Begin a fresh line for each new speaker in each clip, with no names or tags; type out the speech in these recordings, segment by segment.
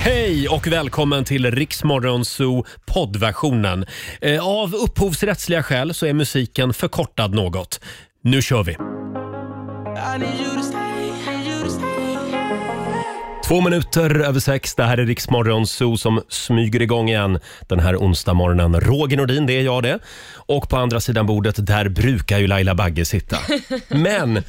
Hej och välkommen till Riksmorgon Zoo poddversionen. Eh, Av upphovsrättsliga skäl så är musiken förkortad något. Nu kör vi! Två minuter över sex, det här är Riksmorgon Zoo som smyger igång igen den här onsdag morgonen. Roger Nordin, det är jag det. Och på andra sidan bordet, där brukar ju Laila Bagge sitta. Men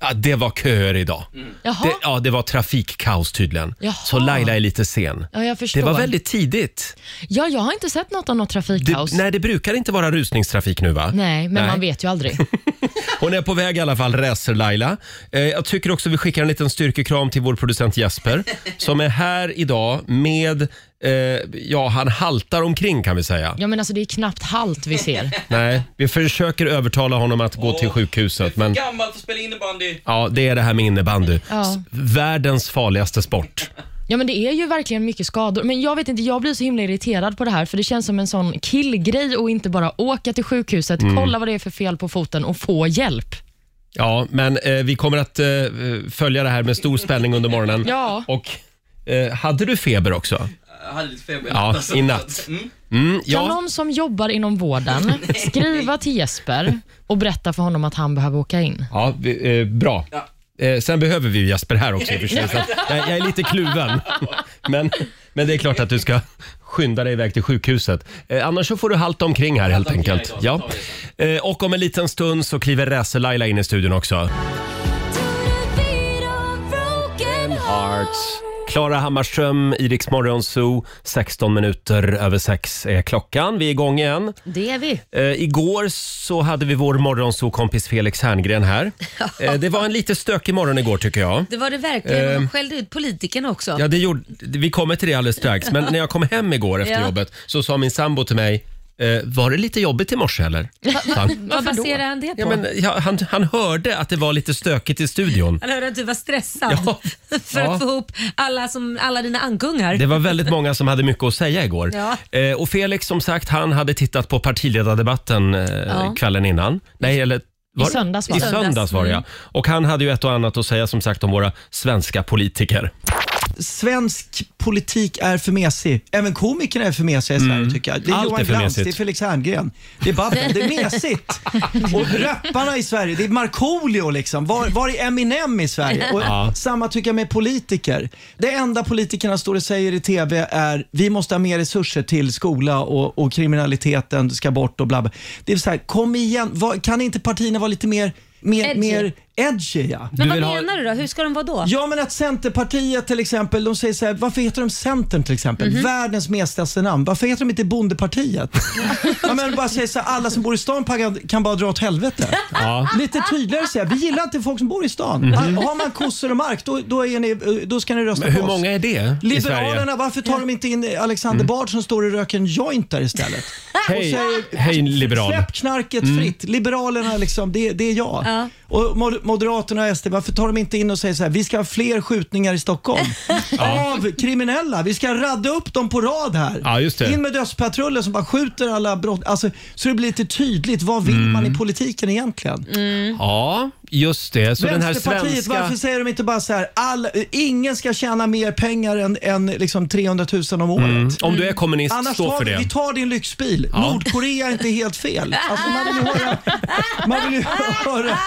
ja, det var köer idag.
Jaha.
Det, ja, det var trafikkaos tydligen.
Mm. Jaha.
Så Laila är lite sen.
Ja, jag förstår.
Det var väldigt tidigt.
Ja, jag har inte sett något om något
Det,
trafikkaos. nej.
nej, det brukar inte vara rusningstrafik nu va?
men man vet ju aldrig.
Hon är på väg i alla fall, Racer-Laila. Eh, jag tycker också vi skickar en liten styrkekram till vår producent Jesper som är här idag med, eh, ja han haltar omkring kan vi säga.
Ja, men alltså det är knappt halt vi ser.
Nej, vi försöker övertala honom att gå till sjukhuset men
Gammal för att spela innebandy.
ja, det är det här med innebandy.
Ja.
S- Världens farligaste sport.
Ja, men det är ju verkligen mycket skador. Men jag vet inte, jag blir så himla irriterad på det här för det känns som en sån killgrej och inte bara åka till sjukhuset,
Mm.
kolla vad det är för fel på foten och få hjälp.
Ja, men eh, vi kommer att eh, följa det här med stor spänning under morgonen.
Ja.
Och eh, hade du feber också?
Jag hade lite feber
Ja, i natt. Mm,
Kan
ja.
någon som jobbar inom vården skriva till Jesper och berätta för honom att han behöver åka in?
Ja, vi- eh, bra.
Ja.
Eh, sen behöver vi ju Jesper här också i och för sig, så att jag, jag är lite kluven. Men, men det är klart att du ska skynda dig iväg till sjukhuset. Eh, annars så får du halta omkring här helt
Halta omkring
enkelt.
här idag,
Ja.
så tar
Eh, och om en liten stund så kliver Racer-Laila in i studion också. Arts. Klara Hammarström, i Rix Morgon Zoo. 16 minuter över sex är klockan. Vi är igång igen.
Det är vi.
Eh, igår så hade vi vår morgonsokompis Felix Herngren här. Eh, det var en lite stökig morgon igår tycker jag.
Det var det verkligen. De skällde ut politikerna också.
Ehm. Ja, det gjorde, vi kommer till det alldeles strax, men när jag kom hem igår efter
Ja.
jobbet så sa min sambo till mig eh, var det lite jobbigt i morse eller? Sa han.
Vad baserar han det på?
Ja, men, ja, han, han hörde att det var lite stökigt i studion.
Han hörde att du var stressad
Ja.
för
Ja.
att få ihop alla, som, alla dina ankungar.
Det var väldigt många som hade mycket att säga igår.
Ja.
Eh, och Felix som sagt, han hade tittat på partiledardebatten eh, kvällen innan. Nej, eller var-
söndags var
I
det.
söndags var det, ja.
Mm.
Och han hade ju ett och annat att säga som sagt om våra svenska politiker.
Svensk politik är för mesig. Även komikerna är för mesiga i Sverige tycker jag. Det är
Mm. Allt
Johan
är för
Glans,
mesigt.
det är Felix Herngren, det är Babben, det är mesigt. Och rapparna i Sverige, det är Markoolio liksom. Var, var är Eminem i Sverige? Och
Ja.
Samma tycker jag med politiker. Det enda politikerna står och säger i TV är vi måste ha mer resurser till skola och, och kriminaliteten ska bort och bla bla. Det är så här, kom igen, vad- kan inte partierna vara lite mer, mer,
Edgy.
mer edgy? Ja?
men
Du
vad
vill ha-
menar du då? Hur ska de vara då?
Ja men att Centerpartiet till exempel, de säger så här, varför heter de Centern till exempel?
Mhm.
Världens mesigaste namn. Varför heter de inte Bondepartiet? ja, men bara säger så här, alla som bor i stan pagga- kan bara dra åt helvete.
Ja. Mhm.
Lite tydligare säga, vi gillar inte folk som bor i stan. Har- Har man kossor och mark, då, då, är ni, då ska ni rösta
Hur
på oss.
många är det i Sverige? Mm.
Liberalerna, varför tar de inte in Alexander Bard som står och röker en joint där istället?
Hej,
säger-
hej liberal. Mm.
Släpp knarket fritt. Liberalerna, liksom, det, det är jag.
Ja.
Och Mod- Moderaterna och SD, varför tar de inte in och säger så här, vi ska ha fler skjutningar i Stockholm av kriminella. Vi ska radda upp dem på rad här.
Ja, just det.
In med dödspatrullen som bara skjuter alla brott. Alltså, så det blir lite tydligt, vad vill
Mm.
man i politiken egentligen?
Ja, just det. Så den här
Vänsterpartiet,
svenska...
varför säger de inte bara så här, all, ingen ska tjäna mer pengar än, än liksom 300 000 om året?
Om du är kommunist,
Annars
stå
tar
för
vi,
det.
vi tar din lyxbil.
Ja.
Nordkorea är inte helt fel. Alltså man, vill ju höra, man vill ju höra.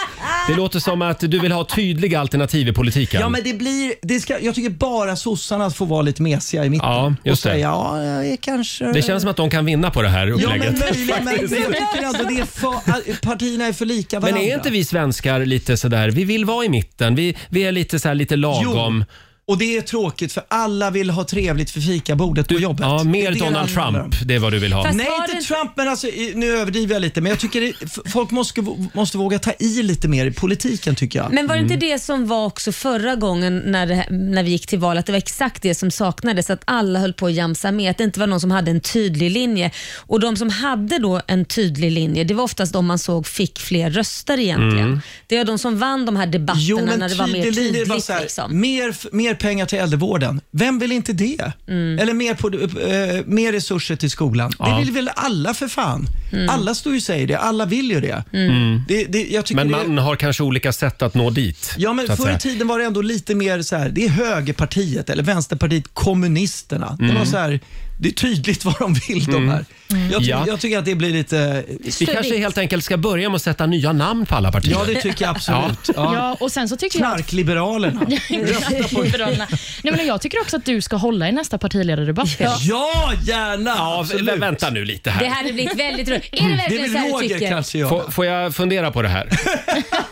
Det låter som att du vill ha tydliga alternativ i politiken.
Ja men det blir, det ska, jag tycker bara sossarna får vara lite mesiga i mitten.
Ja, just
och säga
det.
ja, jag är kanske...
Det känns som att de kan vinna på det här
Ja men
upplägget.
möjligen, men jag tycker ändå det är för, partierna är för lika
Men
varandra.
är inte vi svenskar lite sådär, vi vill vara i mitten, vi, vi är lite, så här, lite lagom.
Och det är tråkigt för alla vill ha trevligt för fikabordet på jobbet.
Ja,
Det är
mer
det
Donald
det handlar om.
Trump, det är vad du vill ha.
Fast-
Nej,
Var
inte
det-
Trump, men alltså, i- nu överdriver jag lite. Men jag tycker det, f- folk måste, måste våga ta i lite mer i politiken tycker jag.
Men var det inte det som var också förra gången när, det, här- när vi gick till val, att det var exakt det som saknades, att alla höll på att jamsa med, att det inte var någon som hade en tydlig linje. Och de som hade då en tydlig linje, det var oftast de man såg fick fler röster egentligen. Det var de som vann de här debatterna när det var mer
Mm. tydlig linje
tydligt.
var så här,
liksom.
mer, f- mer pengar till äldrevården. Vem vill inte det?
Mm.
Eller mer, på, eh, mer resurser till skolan.
Ja.
Det vill väl alla för fan?
Mm.
Alla står ju och säger det. Alla vill ju det. det, det jag tycker
Mm. Men
det,
man har kanske olika sätt att nå dit.
Ja, men
så att
förr i
säga.
tiden var det ändå lite mer så här, det är högerpartiet eller vänsterpartiet, kommunisterna.
Mm.
Det var så här, det är tydligt vad de vill de här.
Mm.
Jag, ty-
Ja.
jag tycker att det blir lite,
Vi kanske helt enkelt ska börja med att sätta nya namn på alla partier.
ja det tycker jag absolut. Ja.
Ja, och sen så tycker jag...
Knarkliberalerna.
Rösta på Liberalerna. Nej, men jag tycker också att du ska hålla i nästa partiledardebatt. Felix.
Ja, gärna!
Ja, vä-
absolut.
vänta nu lite
Det
här.
hade blivit väldigt roligt. Är det
Det är
verkligen
väl
så här du
Roger
tycker?
kanske jag.
Får, får jag fundera på det här?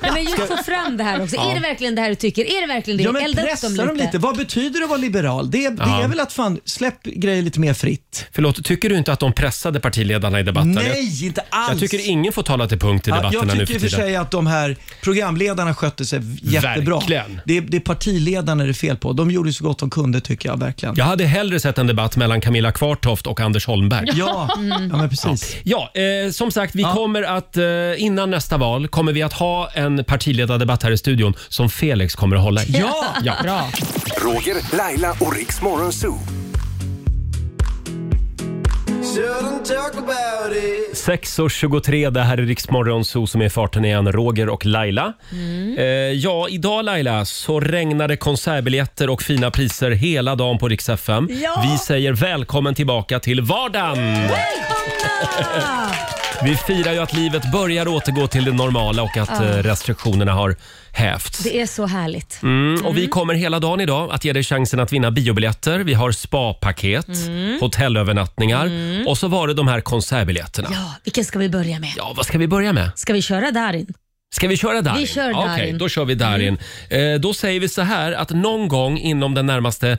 Nej, men just få fram det här också. Är det verkligen det här du tycker? Är det verkligen det?
Ja, men
Elda upp
pressa dem lite. Vad betyder det att vara liberal? Det, det
Ja.
är väl att fan, släpp grejer lite mer fritt.
Förlåt, tycker du inte att de pressade partiledarna i debatten? Jag,
Nej, inte alls.
jag tycker ingen får tala till punkt i
Ja,
debatterna
jag
nu
tycker i
för
och för
tiden.
sig att de här programledarna skötte sig jättebra.
Verkligen.
Det, det är partiledarna det är fel på. De gjorde så gott de kunde tycker jag verkligen.
Jag hade hellre sett en debatt mellan Camilla Kvartoft och Anders Holmberg.
Ja,
Mm.
ja men precis.
Ja, eh, som sagt, vi kommer att eh, innan nästa val kommer vi att ha en partiledardebatt här i studion som Felix kommer att hålla i.
Ja!
Ja.
Bra.
Roger, Laila och Riks Morgonzoo.
6.23, det här är Riksmorgon Zoo som är i farten igen, Roger och Laila. Eh, ja, idag Laila så regnade konsertbiljetter och fina priser hela dagen på Rix FM.
Ja.
Vi säger välkommen tillbaka till vardagen!
Välkomna!
Vi firar ju att livet börjar återgå till det normala och att eh, restriktionerna har hävts.
Det är så härligt.
Mm. Och Vi kommer hela dagen idag att ge dig chansen att vinna biobiljetter. Vi har spapaket, hotellövernattningar och så var det de här konsertbiljetterna. Ja.
Ja, vilken ska vi börja med?
vad ska vi börja med?
Ska vi köra Darin?
Ska vi köra Darin?
Vi kör
Okej,
Darin. Mm.
då kör vi Darin. Eh, då säger vi så här att någon gång inom den närmaste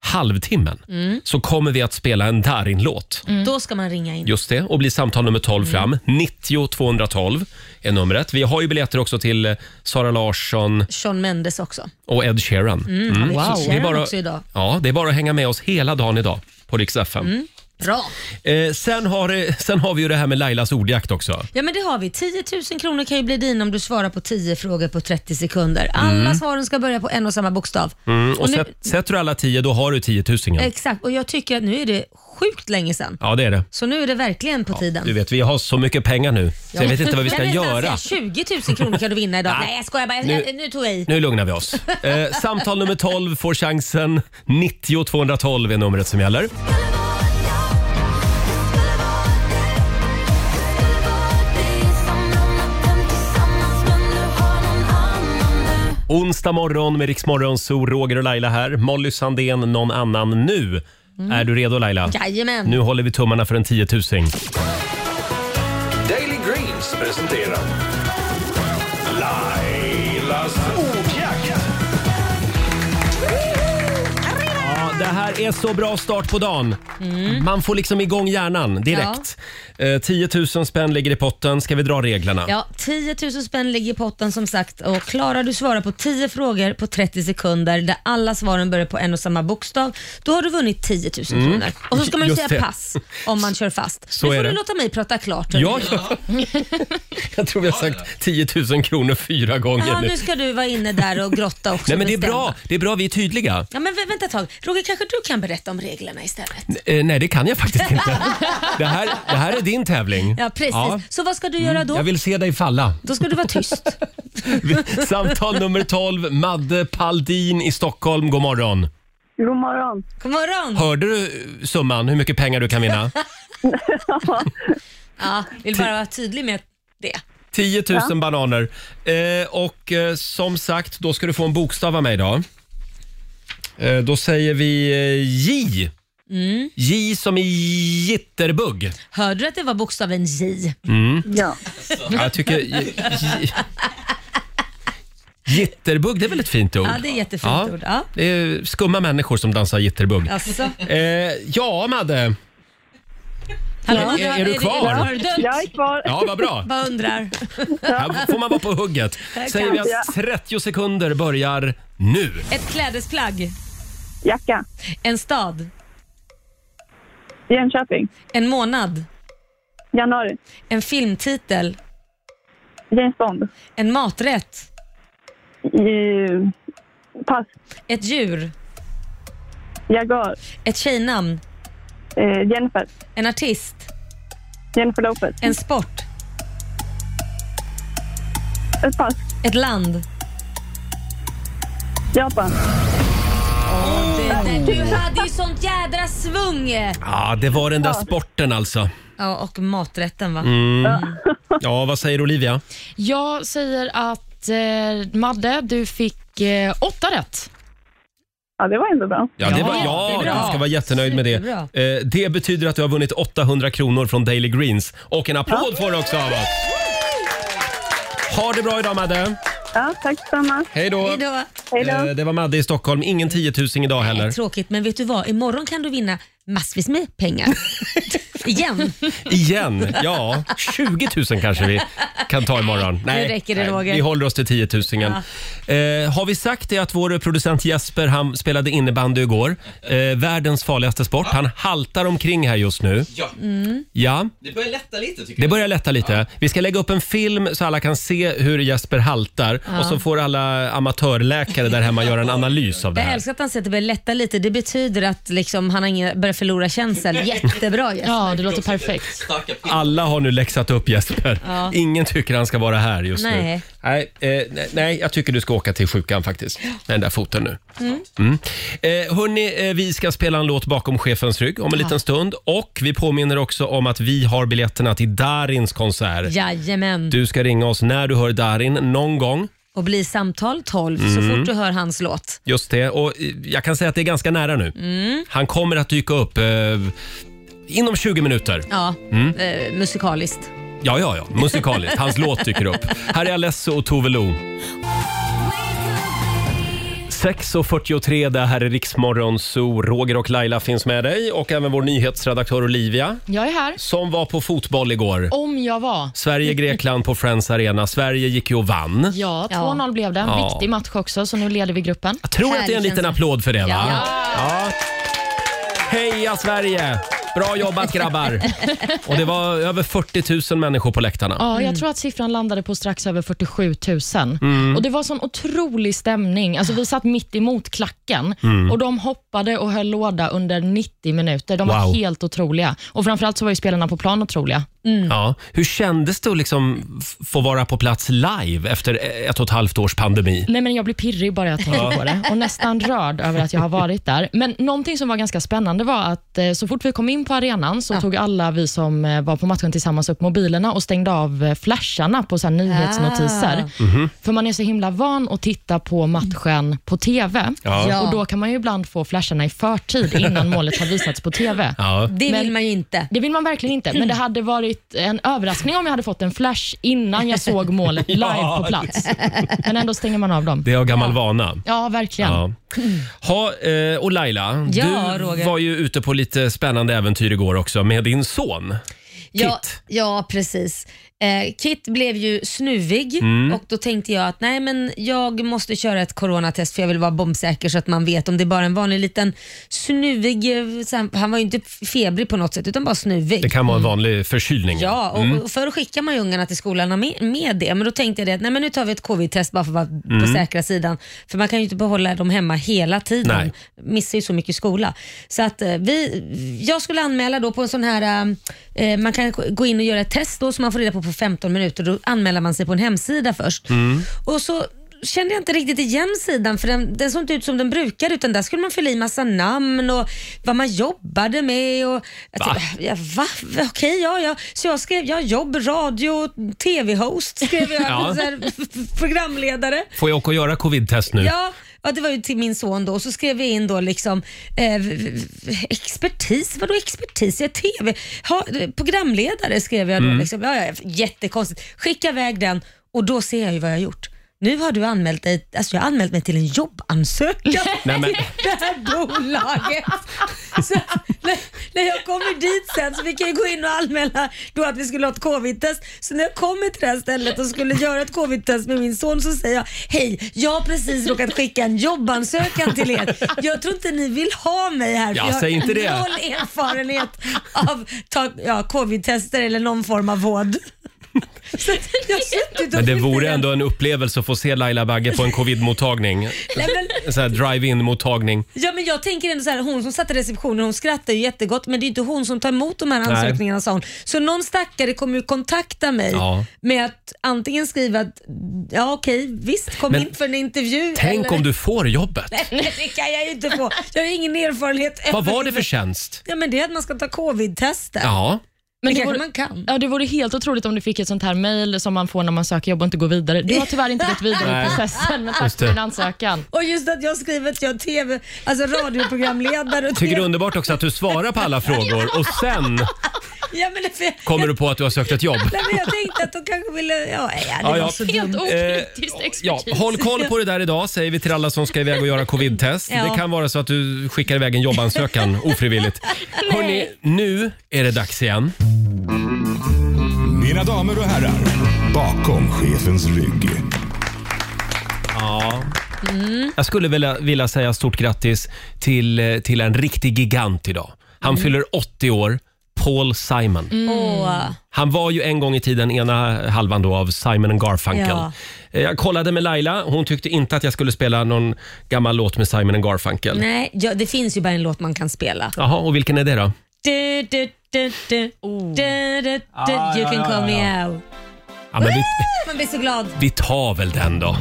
halvtimmen
Mm.
så kommer vi att spela en Darin-låt.
Då ska man ringa in.
Just det, och bli samtal nummer 12
Mm.
fram. 90 212 är numret. Vi har ju biljetter också till eh, Sara Larsson
Sean Mendes också.
och Ed Sheeran.
Mm. Wow.
Det är, bara,
också idag.
ja, det är bara att hänga med oss hela dagen idag på Rix FM.
Mm. Bra.
Eh, sen, har, det- sen har vi ju det här med Lailas ordjakt också.
Ja men det har vi. 10 000 kronor kan ju bli din om du svarar på 10 frågor på 30 sekunder. Alla svaren ska börja på en och samma bokstav.
Mm. Och
Och nu,
sätt, sätter du alla tio, då har du tiotusingen.
exakt, och jag tycker att nu är det sjukt länge sedan.
Ja, det är det.
Så nu är det verkligen på tiden.
Du vet, vi har så mycket pengar nu, så jag vet inte vad vi ska
Men vänta,
göra.
alltså, 20 000 kronor kan du vinna idag.
Nej.
Nej jag skojar bara,
Nu-
nu, jag, nu tog jag i.
Nu lugnar vi oss. Eh, samtal nummer 12 får chansen. 90 212 är numret som gäller. Onsdag morgon med Riksmorgon, så Roger och Laila här. Molly Sandén, någon annan nu. Är du redo Laila?
Mm. Jajamän.
Nu håller vi tummarna för en tiotusing.
Daily Greens presenterar Lailas ordjakt.
Ja, det här är så bra start på dagen.
Mm.
Man får liksom igång hjärnan direkt. Eh, 10 000 spänn ligger i potten. Ska vi dra reglerna?
Ja, 10 000 spänn ligger i potten som sagt och klarar du svara på 10 frågor på 30 sekunder där alla svaren börjar på en och samma bokstav, då har du vunnit 10 000 kronor. Och så ska man ju
Mm. Just
säga
det.
pass om man kör fast.
Så
nu
är
får
det.
du låta mig prata klart.
Ja, ja. Jag tror vi har sagt 10 000 kronor fyra
ja,
gånger nu.
nu ska du vara inne där och grotta också.
Nej, men det är
och bestämma.
bra. Det är bra vi är tydliga.
Ja, men vä- vänta ett tag. Roger, kanske du kan berätta om reglerna istället?
Eh, nej, det kan jag faktiskt inte. Det här, det här är din tävling.
Ja, precis. Så vad ska du göra då?
Mm, Jag vill se dig falla.
Då ska du vara tyst.
Samtal nummer 12, Madde Paldin i Stockholm. God morgon.
God morgon.
God morgon.
Hörde du eh, summan, hur mycket pengar du kan vinna?
Ja, vill bara vara tydlig med det.
10 000 bananer. Eh, och eh, som sagt, då ska du få en bokstav av mig idag. Eh, då säger vi eh, J.
Mm.
J som i jitterbug.
Hörde du att det var bokstaven J?
Ja.
Ja, jag tycker... J, j, jitterbug, det är väl ett fint ord?
Ja, det är jättefint
Ja.
ord. Ja.
Det är skumma människor som dansar jitterbug.
Alltså.
Eh, ja, Madde.
Hallå,
Är- är- är du kvar?
Har du dött?
Jag är kvar.
Ja, vad bra.
Bara undrar.
Här får man vara på hugget. Säger vi att 30 sekunder börjar nu.
Ett klädesplagg,
Jacka.
en stad,
Jönköping.
en månad,
Januari.
en filmtitel,
James Bond.
en maträtt,
I, pass.
ett djur,
Jagar.
Ett tjejnamn.
Eh, Jennifer.
En artist.
Jennifer Lopez.
En sport.
Ett pass.
Ett land.
Japan.
Det, det, du hade ju sånt jädra svung!
Ja, det var den där sporten alltså.
Ja, och maträtten va?
Ja, vad säger Olivia?
Jag säger att eh, Madde, du fick eh, åtta rätt.
Ja, det var ändå bra.
Ja, det var,
Ja,
ja
det är bra.
du ska vara jättenöjd med det.
Superbra.
Eh, det betyder att du har vunnit 800 kronor från Daily Greens. Och en applåd får du också av oss. Ha det bra idag Madde.
Ja, tack detsamma.
Hej då.
Hej då.
Hej då.
Eh, det var Madde i Stockholm. Ingen 10 000 idag heller.
Tråkigt, men vet du vad? Imorgon kan du vinna massvis med pengar. Igen.
Igen. Ja, 20 000 kanske vi kan ta imorgon.
räcker det, Roger.
Vi håller oss till 10 000. Eh, har vi sagt det att vår producent Jesper han spelade innebandy igår? Eh, världens farligaste sport. Han haltar omkring här just nu.
Ja,
Ja.
det börjar lätta lite tycker
Det
jag.
börjar lätta lite. Vi ska lägga upp en film så alla kan se hur Jesper haltar och så får alla amatörläkare där hemma göra en analys av det
Jag
här.
älskar att han säger att det börjar lätta lite. Det betyder att liksom, han har inga, börjar förlora känseln. Jättebra Jesper.
Ja, det låter perfekt.
Starka piller.
Alla har nu läxat upp Jesper. Ingen tycker han ska vara här just nu.
Nej.
Nej, eh, nej, nej, jag tycker du ska åka till sjukan faktiskt. Med den där foten nu. Mm. Eh, hörni, eh, vi ska spela en låt bakom chefens rygg om en liten stund. Och vi påminner också om att vi har biljetterna till Darins konsert.
Jajamän.
Du ska ringa oss när du hör Darin någon gång.
Och bli samtal 12
Mm.
så fort du hör hans låt.
Just det, och eh, jag kan säga att det är ganska nära nu. Han kommer att dyka upp eh, inom 20 minuter.
Ja,
Mm.
eh, musikaliskt.
Ja, ja, ja, musikaliskt. Hans låt dyker upp. Här är Alesso och Tove Lo. 6.43, det här är Riksmorgon Zoo. Roger och Laila finns med dig och även vår nyhetsredaktör Olivia
Jag är här.
som var på fotboll igår.
Om jag var.
Sverige-Grekland på Friends Arena. Sverige gick ju och vann.
Ja,
Ja.
2-0 blev det.
Ja.
Viktig match också, så nu leder vi gruppen.
Jag tror att det är en liten applåd för det, va?
Ja.
Ja. Heja Sverige! Bra jobbat grabbar! Och det var över 40 000 människor på läktarna.
Ja, jag tror att siffran landade på strax över 47 000.
Mm.
Och Det var sån otrolig stämning. Alltså, vi satt mitt emot klacken
Mm.
och de hoppade och höll låda under 90 minuter. De
Wow.
var helt otroliga. Och Framförallt så var ju spelarna på plan otroliga.
Mm.
Ja. Hur kändes det att liksom f- få vara på plats live efter ett och ett halvt års pandemi?
Nej, men jag blir pirrig bara jag tänker på det och nästan rörd över att jag har varit där. Men någonting som var ganska spännande var att eh, så fort vi kom in på arenan så tog alla vi som eh, var på matchen tillsammans upp mobilerna och stängde av eh, flasharna på så här nyhetsnotiser.
Mhm.
För man är så himla van att titta på matchen på TV
Ja.
och då kan man ju ibland få flasharna i förtid innan målet har visats på TV.
Ja.
Det
Men-
vill man ju inte.
Det vill man verkligen inte, men det hade varit en överraskning om jag hade fått en flash innan jag såg målet live på plats. Men ändå stänger man av dem.
Det är av gammal vana.
Ja, verkligen.
Ja. Ha, eh, och Laila,
Mm. Ja,
du
Roger.
var ju ute på lite spännande äventyr igår också med din son.
Ja,
Kit.
ja precis. Eh, Kit blev ju snuvig
Mm.
och då tänkte jag att nej men jag måste köra ett coronatest för jag vill vara bombsäker så att man vet om det är bara en vanlig liten snuvig, eh, så här- han var ju inte febrig på något sätt utan bara snuvig.
Det kan vara en vanlig förkylning.
Mm. Ja, och och förr skickar man ju ungarna till skolan med, med det, men då tänkte jag det att nej, men nu tar vi ett covid-test bara för att vara på säkra sidan. För man kan ju inte behålla dem hemma hela tiden.
Nej.
Missar ju så mycket skola. Så att eh, vi, jag skulle anmäla då på en sån här, eh, man kan gå in och göra ett test då som man får reda på på 15 minuter. Då anmäler man sig på en hemsida först.
Mm.
Och så kände jag inte riktigt igen sidan för den, den såg inte ut som den brukar utan där skulle man fylla i massa namn och vad man jobbade med. Och, jag
Va?
tänkte, ja, va? Okej, ja, ja. Så jag skrev jag jobb, radio, tv-host skrev jag.
Ja.
så här, programledare.
Får jag åka och göra covid-test nu?
Ja, ja, det var ju till min son då. Och så skrev jag in då liksom eh, v- v- expertis, vadå expertis? Jag TV, ha, programledare skrev jag då. Liksom. Ja, ja, jättekonstigt. Skicka iväg den och då ser jag ju vad jag har gjort. Nu har du anmält dig, alltså jag har anmält mig till en jobbansökan
Nej, men-
i det här bolaget. Så, när, när jag kommer dit sen så fick jag ju gå in och anmäla då att vi skulle ha ett covid-test. Så när jag kommer till det här stället och skulle göra ett covid-test med min son så säger jag Hej, jag har precis råkat skicka en jobbansökan till er. Jag tror inte ni vill ha mig här
Ja,
för jag
säg inte det.
noll erfarenhet av ta, ja, covid-tester eller någon form av vård. Så att jag har suttit och
Men det vore
funderat.
ändå en upplevelse att få se Laila Bagge på en covid-mottagning.
Nej, men,
En sån här drive-in-mottagning.
ja, men jag tänker ändå så här, hon som satt i receptionen hon skrattar ju jättegott men det är ju inte hon som tar emot de här ansökningarna sa hon. Så någon stackare kommer ju kontakta mig
Ja.
med att antingen skriva att ja okej visst kom
Men
in för en intervju.
Tänk
eller-
om du får jobbet.
Nej, det kan jag ju inte få. Jag har ingen erfarenhet.
Vad var det för tjänst?
Ja men det är att man ska ta covid-tester.
Ja,
Det
Men
kanske man kan.
Ja, det vore helt otroligt om du fick ett sånt här mejl som man får när man söker jobb och inte går vidare. Du har tyvärr inte gått vidare
Nej.
i processen, men tack
Just
för
det.
din ansökan.
Och just att jag skriver att jag är TV, alltså radioprogramledare. Och
tycker det är
TV
underbart också att du svarar på alla frågor och sen
ja, men det, för,
kommer du på att du har sökt ett jobb.
nej, men jag tänkte att de kanske ville... Ja, nej, det
Ja,
var
ja.
så
Helt
dumt.
okritiskt
Eh,
expertis.
ja, håll koll på det där idag säger vi till alla som ska iväg och göra covid-test.
Ja.
Det kan vara så att du skickar iväg en jobbansökan ofrivilligt. Hörni, nu är det dags igen.
Mina damer och herrar, bakom chefens rygg.
Jag skulle vilja, vilja säga stort grattis till, eh, till en riktig gigant idag. Han
Mm.
fyller 80 år, Paul Simon.
Åh,
Han var ju en gång i tiden ena halvan då av Simon and Garfunkel.
Ja.
Eh, Jag kollade med Laila, hon tyckte inte att jag skulle spela någon gammal låt med Simon and Garfunkel.
nej, ja, det finns ju bara en låt man kan spela.
Jaha, och vilken är det då?
Du, du, du, du, du, du, du, you can call me out.
Ja, men vi,
Man blir så glad.
vi tar väl den då.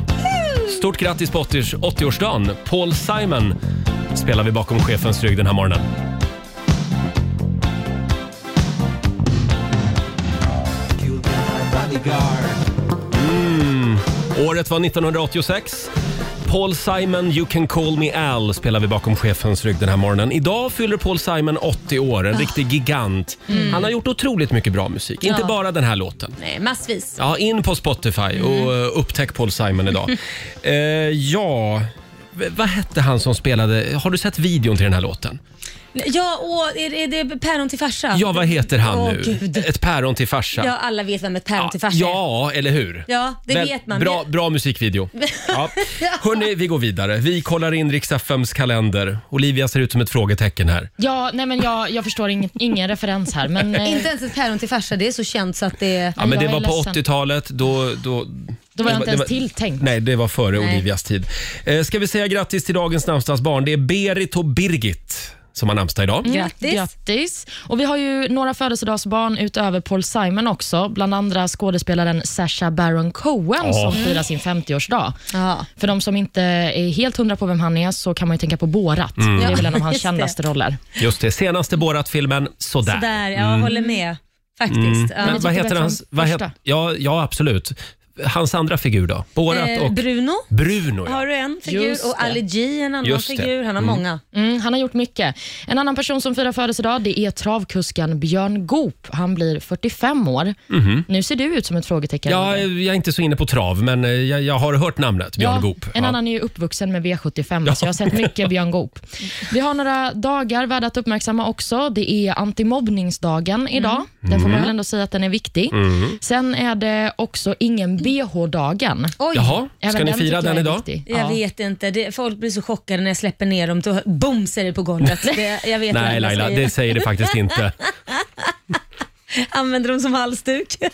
Stort grattis på 80 80-årsdagen. Paul Simon spelar vi bakom chefens rygg den här morgonen. Året var 1986. Paul Simon, You can call me Al spelar vi bakom chefens rygg den här morgonen. Idag fyller Paul Simon 80 år, en
Ah.
riktig gigant. Han har gjort otroligt mycket bra musik, inte
Mm. Ja.
bara den här låten.
Nej, Mm. massvis.
Ja, in på Spotify och eh, upptäck Paul Simon idag. eh, ja, v- vad hette han som spelade? Har du sett videon till den här låten?
Ja, åh, är, det- är det päron till farsa?
Ja, vad heter han
Åh,
nu?
Gud.
Ett päron till farsa.
Ja, alla vet vem ett päron till farsa är.
Ja, eller hur?
Ja, det
Väl-
vet man.
Bra, bra musikvideo. Ja. Hörni, vi går vidare. Vi kollar in riks FMs kalender. Olivia ser ut som ett frågetecken här.
Ja, nej, men jag, jag förstår ingen, ingen referens här, men eh,
Inte ens ett päron till farsa, det är så känt så att det...
Ja, men
Jag
det
är
var på
ledsen.
80-talet. Då, då,
då var jag inte
det
ens tilltänkt.
Nej, det var före
Nej.
Olivias tid. Eh, ska vi säga grattis till dagens namnsdagsbarn? Det är Berit och Birgit som har namnsdag idag.
Mm.
Grattis.
Grattis. Och vi har ju några födelsedagsbarn utöver Paul Simon också, bland andra skådespelaren Sacha Baron Cohen som firar sin 50-årsdag.
Ja.
För de som inte är helt hundra på vem han är så kan man ju tänka på Borat.
Mm.
Det är väl en av hans
Just det.
kändaste roller.
Just det, senaste Borat-filmen, sådär.
Sådär, jag håller med. Faktiskt. Ja.
Mm. Men vad
tycker
heter
vi
hans...
från
Vad
första?
het, ja, ja, absolut. Hans andra figur då? Borat
Eh,
och
Bruno
Bruno. ja.
har du en figur
Just
och
det.
Ali G en annan
Just det.
figur. Han har många.
Mm, han har gjort mycket. En annan person som firar födelsedag det är travkusken Björn Goop. Han blir 45 år. Nu ser du ut som ett frågetecken.
Mhm. Ja, jag är inte så inne på trav, men eh, jag, jag har hört namnet Björn
Ja,
Goop.
En
Ja.
annan är ju uppvuxen med V75, så jag har sett mycket Björn Goop. Vi har några dagar värda att uppmärksamma också. Det är
Mm.
antimobbningsdagen idag. Den får man väl ändå säga att den är viktig. Sen är det också ingen bh-dagen.
Oj,
Jaha, ska
Även
ni
den tycker
fira
jag
den
är
idag?
viktig.
jag
Ja.
vet inte. Det, folk blir så chockade när jag släpper ner dem. Då, boom säger det på golvet. Det, jag
Nej
vet inte vad jag
Laila,
säger.
det säger det faktiskt inte.
Använder dem som halsduk.
Mm.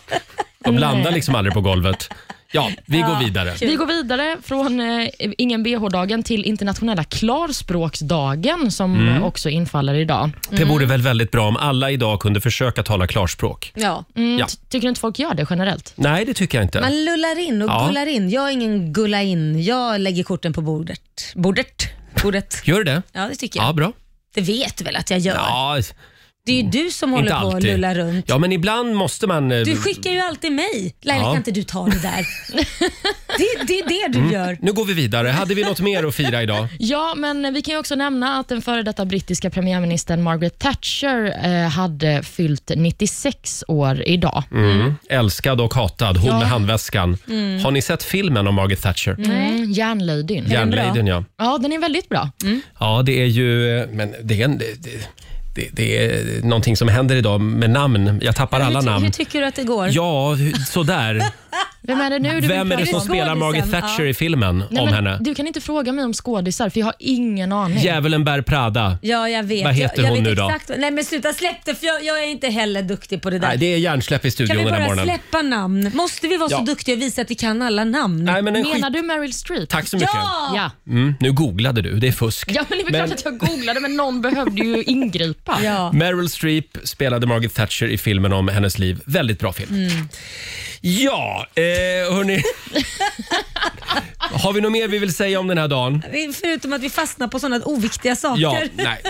De landar liksom aldrig på golvet. Ja, vi går vidare.
Vi går vidare från eh, ingen bh-dagen till internationella klarspråksdagen som
Mm.
eh, också infaller idag.
Det
Mm.
vore väl väldigt bra om alla idag kunde försöka tala klarspråk.
ja.
Mm,
Ja.
ty- Tycker du inte folk gör det generellt?
Nej, det tycker jag inte.
Man lullar in och
Ja.
gullar in. Jag är ingen gulla in. Jag lägger korten på bordet. Bordet? Bordet.
Gör du det?
Ja, det tycker jag.
Ja, bra.
Det vet du väl att jag gör?
Ja,
Det är ju du som håller
inte
på att
alltid.
lulla runt.
Ja, men ibland måste man... eh,
Du skickar ju alltid mig. Laila,
Ja.
kan inte du ta det där? det, det är det du gör.
Nu går vi vidare. Hade vi något mer att fira idag?
Ja, men vi kan ju också nämna att den före detta brittiska premiärministern Margaret Thatcher eh, hade fyllt 96 år idag.
Mm. Älskad och hatad, hon
Ja.
med handväskan. Har ni sett filmen om Margaret Thatcher?
Mm, Järnladyn.
den bra?
Järnladyn, ja.
Ja, den är väldigt bra.
Ja, det är ju... eh, Men det är, en, det, det, det är någonting som händer idag med namn. Jag tappar alla
hur, ty-
namn.
hur tycker du att det går?
Ja, hu- sådär.
Vem är det nu du
Vem är det som
skådisen,
spelar Margaret Thatcher
ja.
i filmen
Nej,
om
men
henne?
Du kan inte fråga mig om skådisar, för jag har ingen aning.
Djävulen bär Prada.
Ja, jag vet.
Vad heter
jag, jag
hon
vet
nu då?
exakt, vad- Nej men sluta, släpp det för jag, jag är inte heller duktig på det där.
Nej, det är hjärnsläpp i
kan vi
studion den här
bara
morgonen.
släppa namn? Måste vi vara
Ja.
så duktiga och visa att vi kan alla namn?
Nej, men en skit...
Menar du Meryl Streep?
Tack så mycket.
ja!
Ja.
Mm, nu googlade du, det är fusk.
ja, men det är väl
Men-
klart att jag googlade, men någon behövde ju ingripa.
ja!
Meryl Streep spelade Margaret Thatcher i filmen om hennes liv. Väldigt bra film.
Mm.
Ja, eh, hörni. Har vi något mer vi vill säga om den här dagen?
Förutom att vi fastnar på sådana oviktiga saker.
Ja, nej.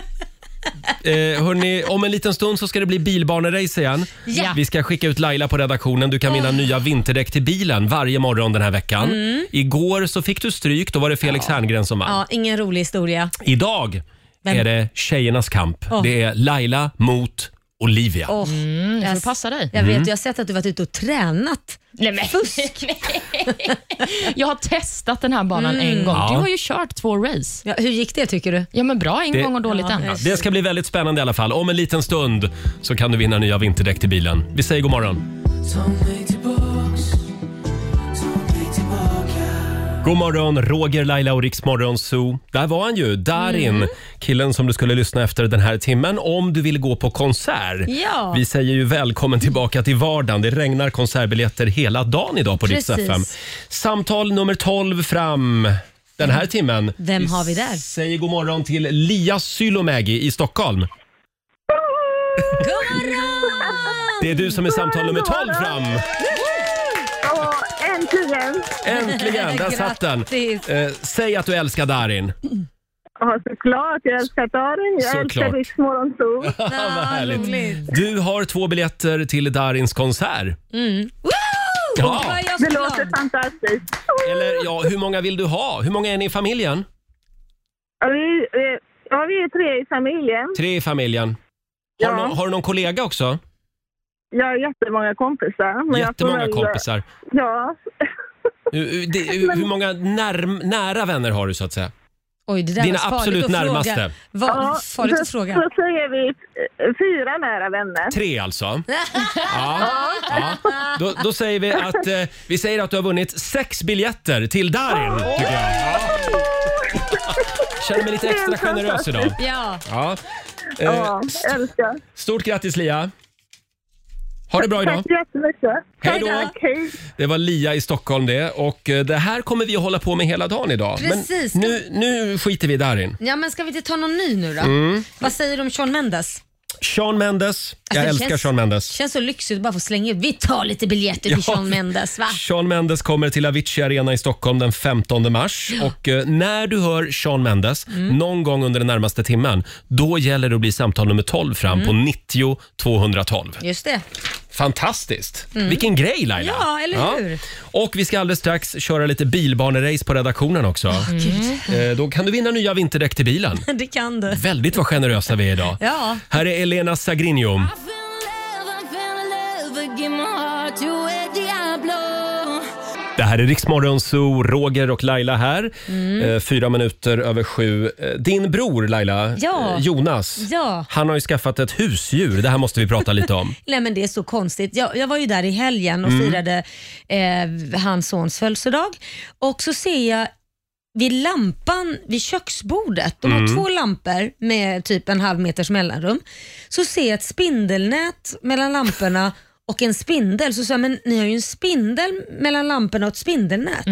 Eh, hörni, om en liten stund så ska det bli bilbanerace igen.
Ja.
Vi ska skicka ut Laila på redaktionen. Du kan vinna
Mm.
nya vinterdäck till bilen varje morgon den här veckan. Igår så fick du stryk, då var det Felix Herngren som vann.
Ja, ingen rolig historia.
Idag
Vem?
är det tjejernas kamp. Det är Laila mot Olivia.
Åh,
Mm,
jag,
jag får passa dig.
jag vet, jag har sett att du varit ute och tränat.
Nej, men. Fusk! jag har testat den här banan
Mm.
en gång.
Ja.
Du har ju kört två race.
Ja, hur gick det tycker du?
Ja, men bra en
Det-
gång och dåligt
Ja,
en.
det-
Det ska bli väldigt spännande i alla fall. Om en liten stund så kan du vinna nya vinterdäck till bilen. Vi säger god morgon. God morgon, Roger, Laila och Riksmorgon Zoo. Där var han ju, Darin.
Mm.
Killen som du skulle lyssna efter den här timmen om du vill gå på konsert.
Ja.
Vi säger ju välkommen tillbaka till vardagen. Det regnar konsertbiljetter hela dagen idag på Rix
Precis.
FM. Samtal nummer 12 fram den här timmen.
Vem har vi där?
Säger god morgon till Lia Sylomägi i Stockholm.
God morgon!
Det är du som är samtal nummer 12 fram.
Åh, äntligen!
Äntligen, där satt den.
Grattis.
Eh, säg att du älskar Darin.
Ja, såklart. Jag älskar Darin. Jag älskar
Såklart.
Riks Morgonzoo.
Ah, vad härligt.
roligt.
Du har två biljetter till Darins konsert.
Mm. Woo!
Ja.
Då är jag så
Det låter
glad.
fantastiskt.
Eller ja, hur många vill du ha? Hur många är ni i familjen?
Ja, vi, eh, ja, vi är tre i familjen.
Tre i familjen. Har, du,
Ja.
någon- har du någon kollega också?
Jag har jättemånga kompisar. Men
Jättemånga
jag får väl-
kompisar.
Ja.
Hur, hur- det, hur, hur många närm, nära vänner har du så att säga?
Oj, det där
Dina
var farligt
absolut
att fråga.
närmaste.
Var,
ja
Farligt
så,
att fråga.
så säger vi eh, fyra nära vänner.
Tre alltså. Ja. ja. Då, då säger vi att eh, vi säger att du har vunnit sex biljetter till Darin. Tycker jag. Ja. Känner mig lite extra generös idag.
Ja.
Ja. Eh,
Ja, älskar.
stort grattis Lia. Ha det bra idag.
Tack så jättemycket.
Hej då.
Tack, hej.
Det var Lia i Stockholm det och eh, det här kommer vi att hålla på med hela dagen idag.
Precis.
Men nu, nu skiter vi i Darin.
ja, men ska vi inte ta någon ny nu då?
Mm.
Vad säger du om Sean Mendes?
Sean Mendes. Jag
Alltså, det
älskar
känns-
Sean Mendes.
Känns så lyxigt att bara få slänga ut. Vi tar lite biljetter till
Ja.
Sean Mendes va?
Sean Mendes kommer till Avicii Arena i Stockholm den 15 mars. Och eh, När du hör Sean Mendes
Mm.
någon gång under den närmaste timmen, då gäller det att bli samtal nummer 12 fram på
Mm.
90 212.
Just det.
Fantastiskt! Vilken grej Laila!
Mm. Ja, eller hur?
Och vi ska alldeles strax köra lite bilbanerace på redaktionen också. Eh, Då kan du vinna nya vinterdäck till bilen.
Det kan du.
Väldigt vad generösa vi är idag.
Ja.
Här är Elena Sagrinho. Det här är Riksmorgon Zoo, Roger och Laila här.
Mm.
Eh, Fyra minuter över sju. Eh, Din bror Laila,
Ja.
eh, Jonas,
Ja.
han har ju skaffat ett husdjur. Det här måste vi prata lite om.
Nej men det är så konstigt. Jag, jag var ju där i helgen och firade eh, hans sons födelsedag och så ser jag vid lampan vid köksbordet, de har två lampor med typ en halv meters mellanrum, så ser jag ett spindelnät mellan lamporna och en spindel. Så sa jag, men ni har ju en spindel mellan lamporna och ett spindelnät.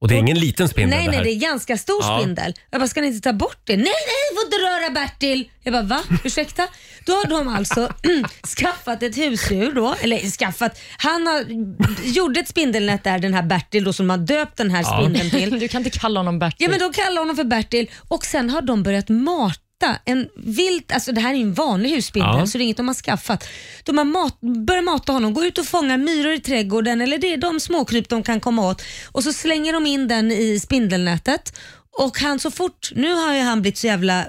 Och det är ingen liten spindel
Nej,
det här.
nej, det är ganska stor
Ja.
spindel. Jag bara, ska ni inte ta bort det? Nej, nej, får inte röra Bertil. Jag bara, va? Ursäkta? Då har de alltså skaffat ett husdjur då, eller skaffat, han har, gjorde ett spindelnät där, den här Bertil då som har döpt den här
Ja.
spindeln till.
Du kan inte kalla honom Bertil.
Ja, men de kallar honom för Bertil och sen har de börjat mata en vilt, alltså det här är ju en vanlig husspindel
Ja.
så det är inget de har skaffat. De har mat, börjat mata honom, gå ut och fånga myror i trädgården eller det är de småkryp de kan komma åt och så slänger de in den i spindelnätet och han så fort, nu har ju han blivit så jävla eh,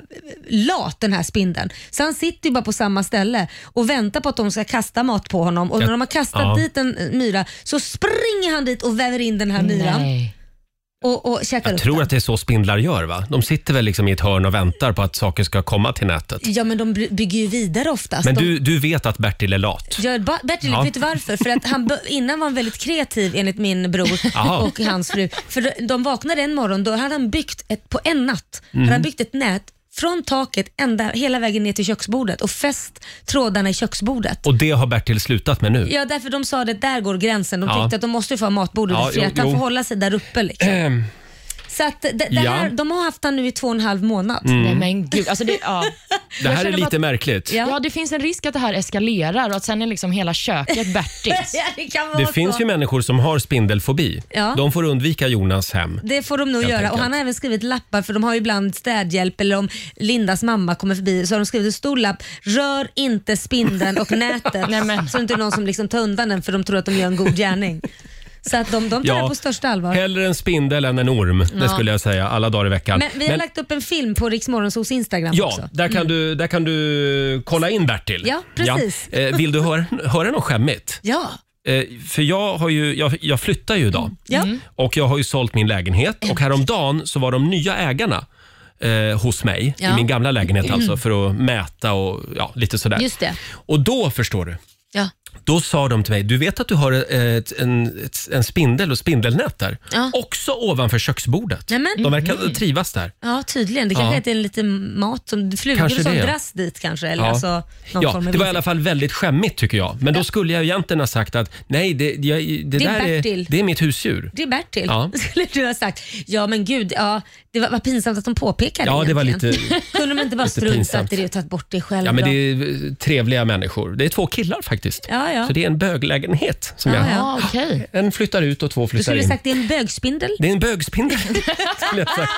lat den här spindeln, så han sitter ju bara på samma ställe och väntar på att de ska kasta mat på honom och när de har kastat
Ja.
dit en myra så springer han dit och väver in den här myran.
Nej.
och, och käkar
Jag
upp
tror
den.
att det är så spindlar gör va? De sitter väl liksom i ett hörn och väntar på att saker ska komma till nätet.
Ja, men de by- bygger ju vidare oftast.
Men
de...
du, du vet att Bertil är lat?
Ja, Ba- Bertil,
Ja.
vet du varför? För att han, bö- innan var han väldigt kreativ enligt min bror
Jaha.
och hans fru. För de- de vaknade en morgon, då hade han byggt ett, på en natt,
Mhm.
hade han byggt ett nät från taket ända, hela vägen ner till köksbordet och fäst trådarna i köksbordet.
Och det har Bertil slutat med nu?
Ja, därför de sa det, där går gränsen. De
Ja.
tyckte att de måste ju få ha matbordet
Ja,
ja, fri,
jo,
att han
jo.
får hålla sig där uppe. Liksom.
Ehm,
Så att det, det här,
Ja. Mm.
de har haft han nu i två och en halv månad.
Nej, men gud. Alltså det, ja.
Det
Jag
här är
känner
lite
bara-
märkligt.
Ja.
Ja, det finns en risk att det här eskalerar och att sen är liksom hela köket Bertils.
Ja, det kan vara
Det
så.
finns ju människor som har spindelfobi.
Ja.
De får undvika Jonas hem.
Det får de nog
Helt
göra och
enkelt.
han har även skrivit lappar för de har ju ibland städhjälp eller om Lindas mamma kommer förbi så har de skrivit en stor lapp. Rör inte spindeln och nätet
Nej, men.
så det inte är någon som liksom tar undan den för de tror att de gör en god gärning. Så att de, de tar det på största allvar.
Hellre en spindel än en orm, det
Ja.
skulle jag säga, alla dagar i veckan.
Men vi har lagt upp en film på Rix Morgonzoos Instagram
Ja,
också. Mm.
där kan, du, där kan du kolla in Bertil.
Ja, precis.
Ja. Eh, Vill du höra, höra något skämmigt?
Ja,
Eh, För jag, har ju, jag, jag flyttar ju idag
Mm. ja.
och jag har ju sålt min lägenhet och häromdagen så var de nya ägarna eh, hos mig, i
Ja. Mm.
min gamla lägenhet alltså, för att mäta och ja, lite sådär.
just det.
Och då förstår du,
Ja.
Då sa de till mig, du vet att du har ett, en, ett, en spindel och spindelnät där?
Ja.
Också ovanför köksbordet.
Nämen.
De verkar trivas där.
ja, tydligen. Det kanske
Mm. Ja.
är att det är lite mat som flugor
Kanske
som
det.
dras dit kanske. Eller
Ja.
alltså, någon
ja,
form av
det var i
insekt.
alla fall väldigt skämmigt tycker jag. Men då skulle jag egentligen ha sagt att nej, det, jag, det,
är
där är,
Bertil.
det är mitt husdjur.
Det är Bertil,
Ja.
skulle du ha sagt. Ja men gud, ja, det var, var pinsamt att de påpekade
Ja, det var
egentligen.
lite-
Kunde man inte bara
lite
struntat
pinsamt.
i det och tagit bort det själv
Ja, men
då?
det är eh, trevliga människor. Det är två killar faktiskt.
Ja, ja.
Så det är en böglägenhet. Som jag,
Ja, okej.
En flyttar ut och två
Du
flyttar
skulle
in.
sagt det är en bögspindel.
Det är en bögspindel. skulle jag sagt.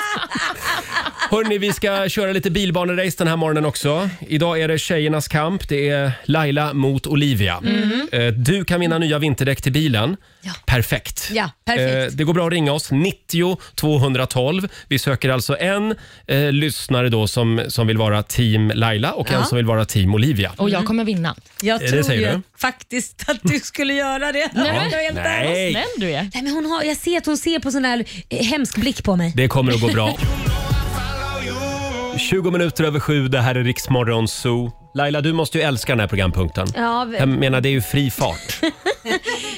Hörni, vi ska köra lite bilbanerace den här morgonen också. Idag är det tjejernas kamp. Det är Laila mot Olivia.
Mhm.
Eh, Du kan vinna nya vinterdäck till bilen. Perfekt.
Ja, perfekt.
Eh, Det går bra att ringa oss. 90 212. Vi söker alltså en eh, lyssnare då som, som vill vara team Laila och en som vill vara team Olivia.
Och
Mm.
jag kommer vinna.
Jag
Det
tror
säger
ju
du.
faktiskt att du skulle göra det.
Nej,
Jag är helt ärlig.
Nej.
Snäll du är.
Nej, men hon har, jag ser att hon ser på sån här eh, hemsk blick på mig.
Det kommer att gå bra. 20 minuter över sju, det här är Riksmorgon Zoo. Laila, du måste ju älska den här programpunkten.
Ja, v-
Jag menar, det är ju fri fart.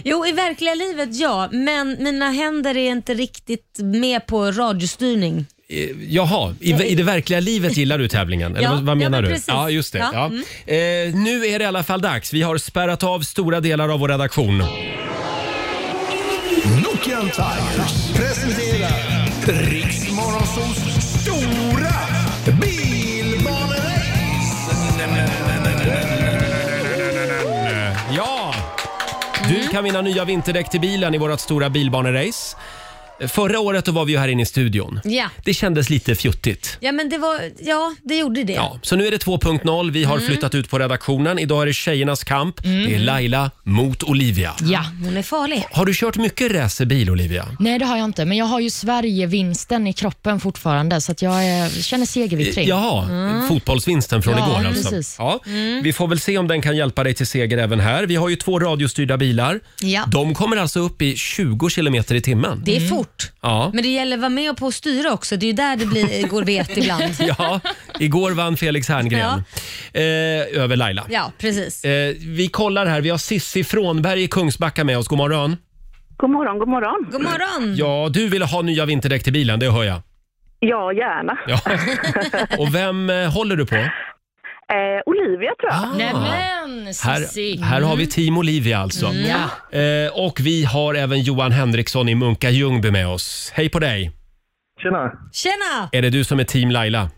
Jo, i verkliga livet ja, men mina händer är inte riktigt med på radiostyrning.
Eh, Jaha, i, i det verkliga livet gillar du tävlingen? Eller
Ja,
vad, vad
ja,
menar
men
du?
precis.
Ja, just det. Ja.
Ja, mm.
Eh, nu är det i alla fall dags. Vi har spärrat av stora delar av vår redaktion.
Nokian Tigers presenterar Riksmorgonsols stora bilbanerace.
Ja!
Mm.
Du kan vinna nya vinterdäck till bilen i vårt stora bilbanerace. Förra året då var vi ju här inne i studion.
Ja.
Det kändes lite fjuttigt.
Ja, men det var, ja, det gjorde det.
Ja, så nu är det 2.0. Vi har
Mm.
flyttat ut på redaktionen. Idag är det tjejernas kamp. Det är Laila mot Olivia.
Ja.
Hon är farlig.
Har du kört mycket racerbil, Olivia?
Nej, det har jag inte, men jag har ju Sverigevinsten i kroppen fortfarande, så att jag eh, känner segervittring.
Jaha,
Mm.
fotbollsvinsten från
Ja,
igår alltså.
precis.
Ja. Vi får väl se om den kan hjälpa dig till seger även här. Vi har ju två radiostyrda bilar.
Ja.
De kommer alltså upp i 20 kilometer i timmen.
Det är fort.
Ja.
Men det gäller att vara med och på och styra också. Det är ju där det blir, går vet ibland.
Ja, igår vann Felix Herngren eh, över Laila.
Ja, precis.
Eh, vi kollar här, vi har Sissi Frånberg i Kungsbacka med oss. God morgon.
Mm.
God morgon, god morgon.
God morgon!
Ja, du ville ha nya vinterdäck till bilen, det hör jag.
Ja, gärna.
Ja. Och vem eh, håller du på? Ah.
Eh, Olivia tror jag.
Nämen, Cissi.
Här, här har vi
Mm.
Team Olivia alltså. Eh, och vi har även Johan Henriksson i Munka Ljungby med oss. Hej på dig!
Tjena!
Tjena!
Är det du som är Team Laila?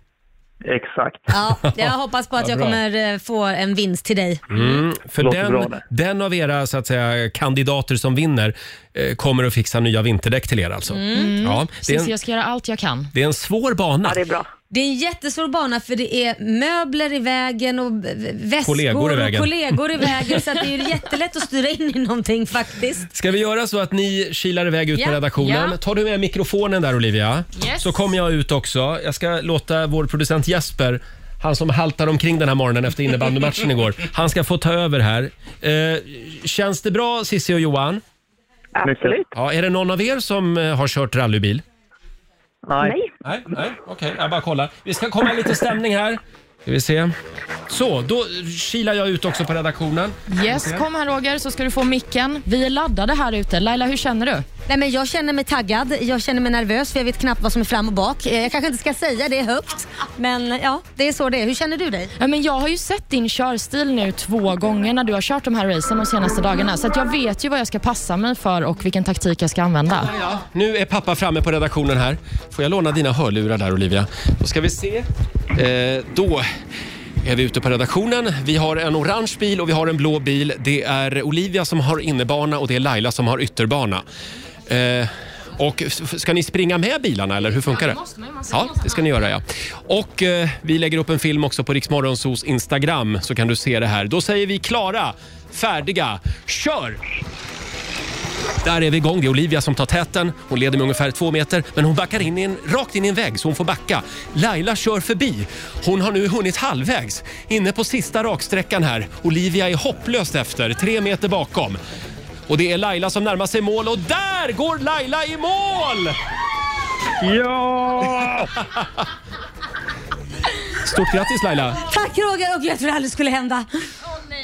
Exakt.
Ja, jag hoppas på att jag
bra.
kommer eh, få en vinst till dig.
Mm, för
Låter bra
den,
det.
den av era så att säga, kandidater som vinner eh, kommer att fixa nya vinterdäck till er alltså.
Mm.
Ja, det, är
Cissi,
en,
jag ska göra allt jag kan.
det är en svår bana.
Ja, det är bra.
Det är en jättesvår bana för det är möbler i vägen och v- v- väskor
Kollegor i vägen.
och kollegor i vägen så att det är ju jättelätt att styra in i någonting faktiskt.
Ska vi göra så att ni kilar iväg ut
Ja,
på redaktionen?
ja.
Tar du med mikrofonen där Olivia?
Yes.
Så kommer jag ut också. Jag ska låta vår producent Jesper, han som haltar omkring den här morgonen efter innebandymatchen igår, han ska få ta över här. Eh, känns det bra Cissi och Johan?
Absolut.
Ja, är det någon av er som eh, har kört rallybil?
Nej.
Nej, nej, okej. Jag bara kollar. Vi ska komma i lite stämning här. Ska vi se. Så, då kilar jag ut också på redaktionen.
Yes, kom här Roger så ska du få micken. Vi är laddade här ute. Laila, hur känner du?
Nej, men jag känner mig taggad, jag känner mig nervös för jag vet knappt vad som är fram och bak. Eh, Jag kanske inte ska säga det högt, men eh, ja, det är så det är. Hur känner du dig?
Ja, men jag har ju sett din körstil nu två gånger när du har kört de här racen de senaste dagarna. Så att jag vet ju vad jag ska passa mig för och vilken taktik jag ska använda.
Nu är pappa framme på redaktionen här. Får jag låna dina hörlurar där Olivia? Då ska vi se. Eh, då är vi ute på redaktionen. Vi har en orange bil och vi har en blå bil. Det är Olivia som har innebana och det är Laila som har ytterbana. Eh, och f- ska ni springa med bilarna eller hur funkar det? Ja, det ska ni göra ja. Och eh, vi lägger upp en film också på Riksmorgonsos Instagram så kan du se det här. Då säger vi klara, färdiga, kör! Där är vi igång. Det är Olivia som tar täten. Hon leder med ungefär två meter, men hon backar in i en, rakt in i en vägg så hon får backa. Laila kör förbi. Hon har nu hunnit halvvägs. Inne på sista raksträckan här. Olivia är hopplöst efter, tre meter bakom. Och det är Laila som närmar sig mål och där går Laila i mål!
Ja!
Stort grattis Laila!
Tack Roger och jag trodde aldrig skulle hända.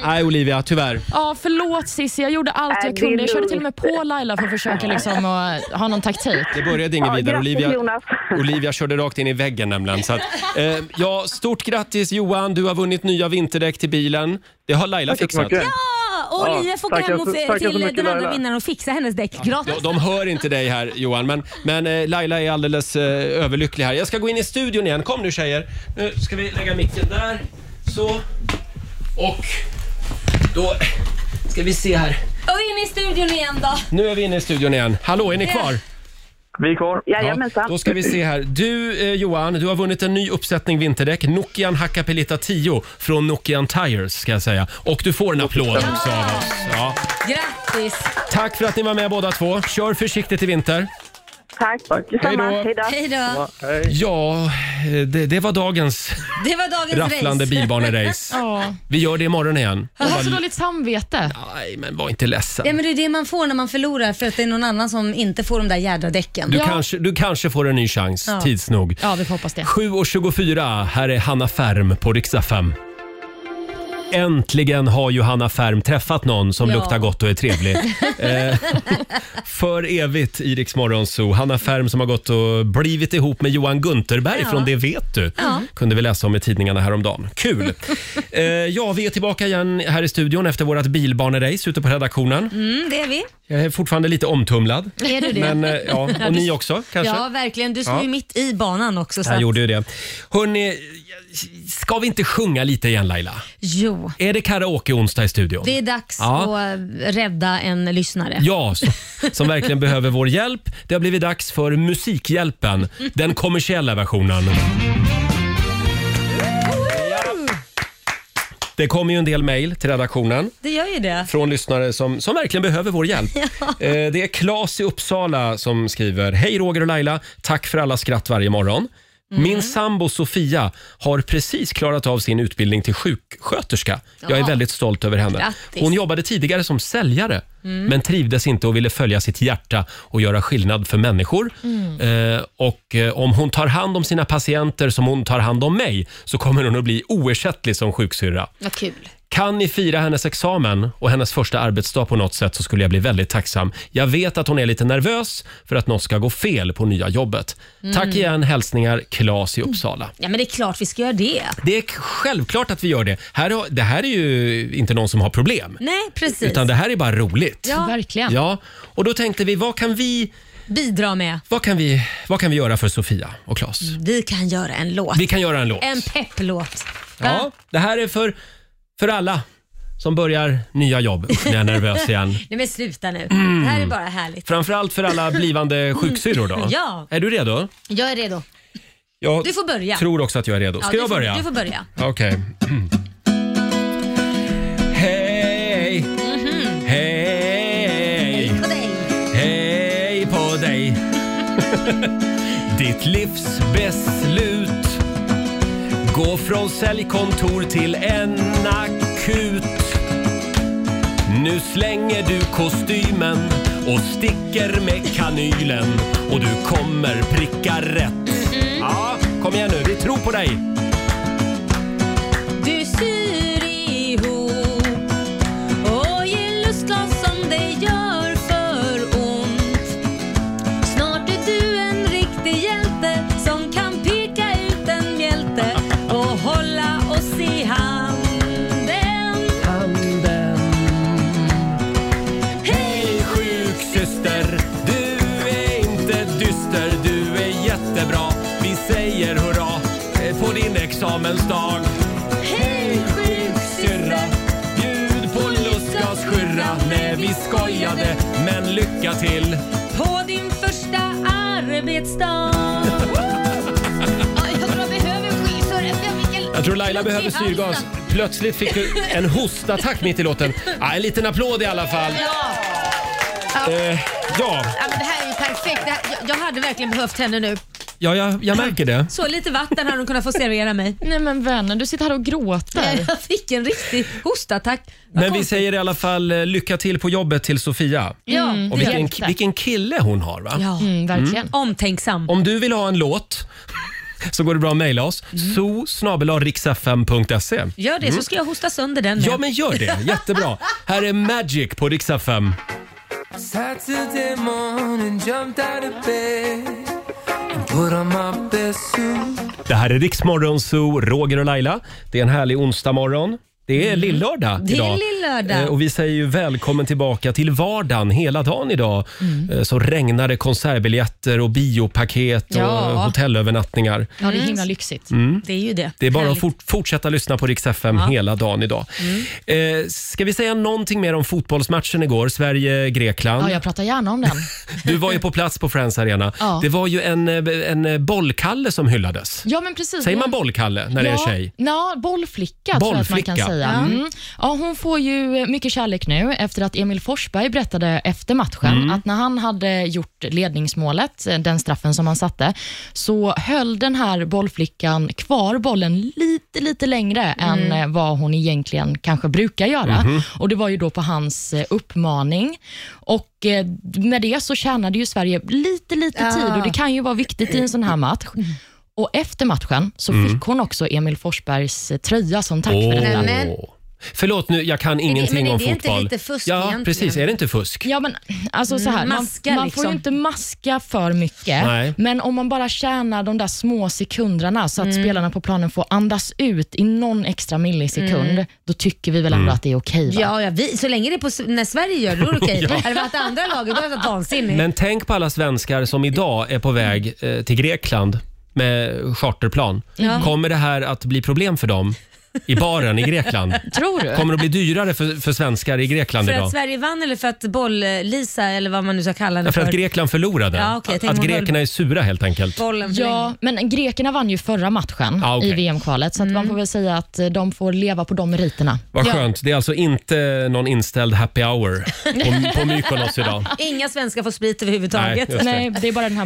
Nej Olivia, tyvärr.
Ja, förlåt Sissi. Jag gjorde allt
Nej,
jag
Äh, det
kunde.
är
Jag körde till och med
lugnt.
på Laila för att försöka liksom, att ha någon taktik.
Det började inget
Ja,
vidare.
grattis,
Olivia,
Jonas.
Olivia körde rakt in i väggen nämligen. Så att, eh, ja, stort grattis Johan, du har vunnit nya vinterdäck till bilen. Det har Laila
Tack så
fixat.
mycket.
Ja, och
Ja,
Olivia får gå
tackar
hem och
så- tackar
f-
så
till
mycket,
den andra
Laila.
vinnaren och fixa hennes däck gratis.
De, de hör inte dig här Johan, men, men eh, Laila är alldeles eh, överlycklig här. Jag ska gå in i studion igen. Kom nu tjejer. Nu ska vi lägga micken där. Så. Och då ska vi se här.
Och in i studion igen då.
Nu är vi inne i studion igen. Hallå, är ni kvar?
Vi är kvar.
Jajamensan.
Då ska vi se här. Du eh, Johan, du har vunnit en ny uppsättning vinterdäck. Nokian Hakkapelita 10 från Nokian Tires ska jag säga. Och du får en applåd också av oss. Ja.
Grattis.
Tack för att ni var med båda två. Kör försiktigt i vinter.
Tack. Detsamma.
Hej då.
Hej då.
Hej då.
Hej.
Ja, eh, det, det var dagens
Det var dagens
rafflande
race.
bilbanerace.
Ja.
Vi gör det imorgon igen.
Jag har så dåligt samvete.
Nej, men var inte
Ja,
ledsen.
men det är det man får när man förlorar för att det är någon annan som inte får de där jädra däcken.
Du,
Ja.
kanske, du kanske får en ny chans
Ja.
tids nog.
Ja, vi får hoppas det.
7.24, här är Hanna Färm på Riksa 5. Äntligen har ju Hanna Färm träffat någon som
Ja.
luktar gott och är trevlig. Eh, För evigt i Rix Morgon Zoo. Hanna Färm som har gått och blivit ihop med Johan Gunterberg
Ja.
från Det vet du. Kunde vi läsa om i tidningarna häromdagen. Kul! Eh, ja, vi är tillbaka igen här i studion efter vårt bilbanerace ute på redaktionen.
Mm, det är vi.
Jag är fortfarande lite omtumlad.
Är du det?
Men, eh, ja, och ni också kanske?
Ja, verkligen. Du står
Ja.
ju mitt i banan också. Så
Han
att-
gjorde ju det. Hörni, ska vi inte sjunga lite igen Laila?
Jo,
Är det karaoke onsdag i studion?
det är dags
Ja.
att eh, rädda en lyssnare.
Ja, som, som verkligen behöver vår hjälp. Det har blivit dags för Musikhjälpen, den kommersiella versionen. Det kommer ju en del mejl till redaktionen
Det gör ju det.
från lyssnare som, som verkligen behöver vår hjälp. Eh, Det är Claes i Uppsala som skriver. Hej Roger och Laila. Tack för alla skratt varje morgon. Min sambo Sofia har precis klarat av sin utbildning till sjuksköterska. Jag är
Ja.
väldigt stolt över henne.
Grattis.
Hon jobbade tidigare som säljare men trivdes inte och ville följa sitt hjärta och göra skillnad för människor. Eh, och eh, om hon tar hand om sina patienter som hon tar hand om mig så kommer hon att bli oersättlig som sjuksyrra.
Vad kul.
Kan ni fira hennes examen och hennes första arbetsdag på något sätt så skulle jag bli väldigt tacksam. Jag vet att hon är lite nervös för att något ska gå fel på nya jobbet.
Mm.
Tack igen, hälsningar Klas i Uppsala.
Ja, men det är klart vi ska göra det.
Det är k- självklart att vi gör det. Här, har- det här är ju inte någon som har problem.
Nej, precis.
Utan det här är bara roligt.
Ja.
Verkligen.
Ja, och då tänkte vi, vad kan vi,
Bidra med.
vad kan vi, vad kan vi göra för Sofia och Klas?
Vi kan göra en låt.
Vi kan göra en låt.
En pepplåt. Va?
Ja, det här är för, för alla som börjar nya jobb. Usch, nu är jag nervös igen. Mm.
Nej, men sluta nu. Det här är bara härligt.
Framförallt för alla blivande sjuksyrror då.
Ja.
Är du redo?
Jag är redo.
Jag
Du får börja.
tror också att jag är redo.
Ja,
Ska
du
jag
får-
börja?
Du får börja.
Okej. Hej, hej,
Mhm. På dig.
hej på dig. Ditt livs beslut. Gå från säljkontor till en akut. Nu slänger du kostymen och sticker med kanylen och du kommer pricka rätt.
Mhm.
Ja, kom igen nu, vi tror på dig!
Du syr ihop och ger lustgas som det gör för ont. Snart är du en riktig hjälte som kan peka ut en mjälte och hålla oss i handen.
Hej sjuksyster, du är inte dyster, du är jättebra. Vi säger hurra eh, på din examensdag.
Hej
Syrra,
sjuksyrra,
bjud på lustgas skyrra. Nej, vi skojade, men lycka till.
på din första arbetsdag. Jag tror jag behöver skilsmässa.
Jag tror Laila behöver syrgas. Plötsligt fick du en hostattack mitt i låten. Ja, en liten applåd i alla fall.
Ja.
Eh, ja,
Ja, men det här är ju perfekt. Det här, jag, jag hade verkligen behövt henne nu.
ja jag, jag märker det.
Så lite vatten hade de kunnat få servera mig.
Nej men vännen, du sitter här och gråter.
Jag fick en riktig hostattack. Vad
Men vi
konstigt.
säger i alla fall eh, lycka till på jobbet till Sofia.
Ja,
Mm. Och vilken,
Hjälte.
vilken kille hon har va?
ja.
Mm, verkligen.
Omtänksam.
Om du vill ha en låt så går det bra att mejla oss. Mm. snabel-riksfm.se
Gör det så ska jag hosta sönder den.
Mm. Ja men gör det, jättebra. Här är Magic på riksdag 5.
Saturday morning, jumped out of bed and put on my best suit.
Det här är Riksmorgon Zoo, Roger och Laila. Det är en härlig onsdagmorgon. Det är lillördag
Mm. Det är
idag.
lillördag.
Eh, Och vi säger ju välkommen tillbaka till vardagen hela dagen idag.
Mm.
Eh, Så regnar det konsertbiljetter och biopaket och
Ja.
eh, hotellövernattningar.
Ja,
Mm.
det är himla lyxigt.
Mm.
Det är ju det.
Det är bara att
Härligt. Mm.
fort, fortsätta lyssna på Rix FM hela dagen idag. Eh, ska vi säga någonting mer om fotbollsmatchen igår, Sverige-Grekland?
Ja, jag pratar gärna om den.
Du var ju på plats på Friends Arena.
Ja.
Det var ju en, eh, en eh, bollkalle som hyllades.
Ja, men precis.
Säger man bollkalle när det är tjej?
Ja, bollflicka, tror jag att man
Bollflicka.
kan säga. Mm. Ja, hon får ju mycket kärlek nu efter att Emil Forsberg berättade efter matchen
Mm.
att när han hade gjort ledningsmålet, eh, den straffen som han satte, så höll den här bollflickan kvar bollen lite, lite längre
Mm.
än eh, vad hon egentligen kanske brukar göra.
Mhm.
Och Det var ju då på hans eh, uppmaning. Och eh, med det så tjänade ju Sverige lite, lite tid och det kan ju vara viktigt i en sån här match.
Mm.
Och efter matchen så fick hon också Emil Forsbergs eh, tröja som tack för
Åh.
detta.
men-
Förlåt nu, jag kan ingenting
men är
om
det inte
fotboll.
lite fusk
Ja,
egentligen?
precis. Är det inte fusk?
Ja, men alltså så här,
maska
man, man
liksom.
får ju inte maska för mycket,
Nej.
men om man bara tjänar de där små sekunderna så att
Mm.
spelarna på planen får andas ut i någon extra millisekund, då tycker vi väl
Mm.
ändå att det är okej? va?
Mm. Ja, ja vi, så länge det är på, s- när Sverige gör det, då är det okej.
Ja.
Hade det varit andra laget, då hade det varit vansinnigt.
Men tänk på alla svenskar som idag är på väg eh, till Grekland med charterplan. Kommer det här att bli problem för dem i baren i Grekland?
Tror du?
Kommer det att bli dyrare för, för svenskar i Grekland
för
idag?
att Sverige vann eller för att boll-Lisa, eller vad man nu ska kalla henne
Ja, för
för,
att Grekland förlorade.
Ja, okej, jag
att
tänkte man
grekerna är sura helt enkelt.
bollen för länge.
Ja, men grekerna vann ju förra matchen
Ah, okej.
i VM-kvalet, så att
Mm.
man får väl säga att eh, de får leva på de meriterna.
Vad skönt. Det är alltså inte någon inställd happy hour på, på Mykonos idag.
Inga svenskar får sprit överhuvudtaget.
Nej, Just det.
Nej, det är bara den här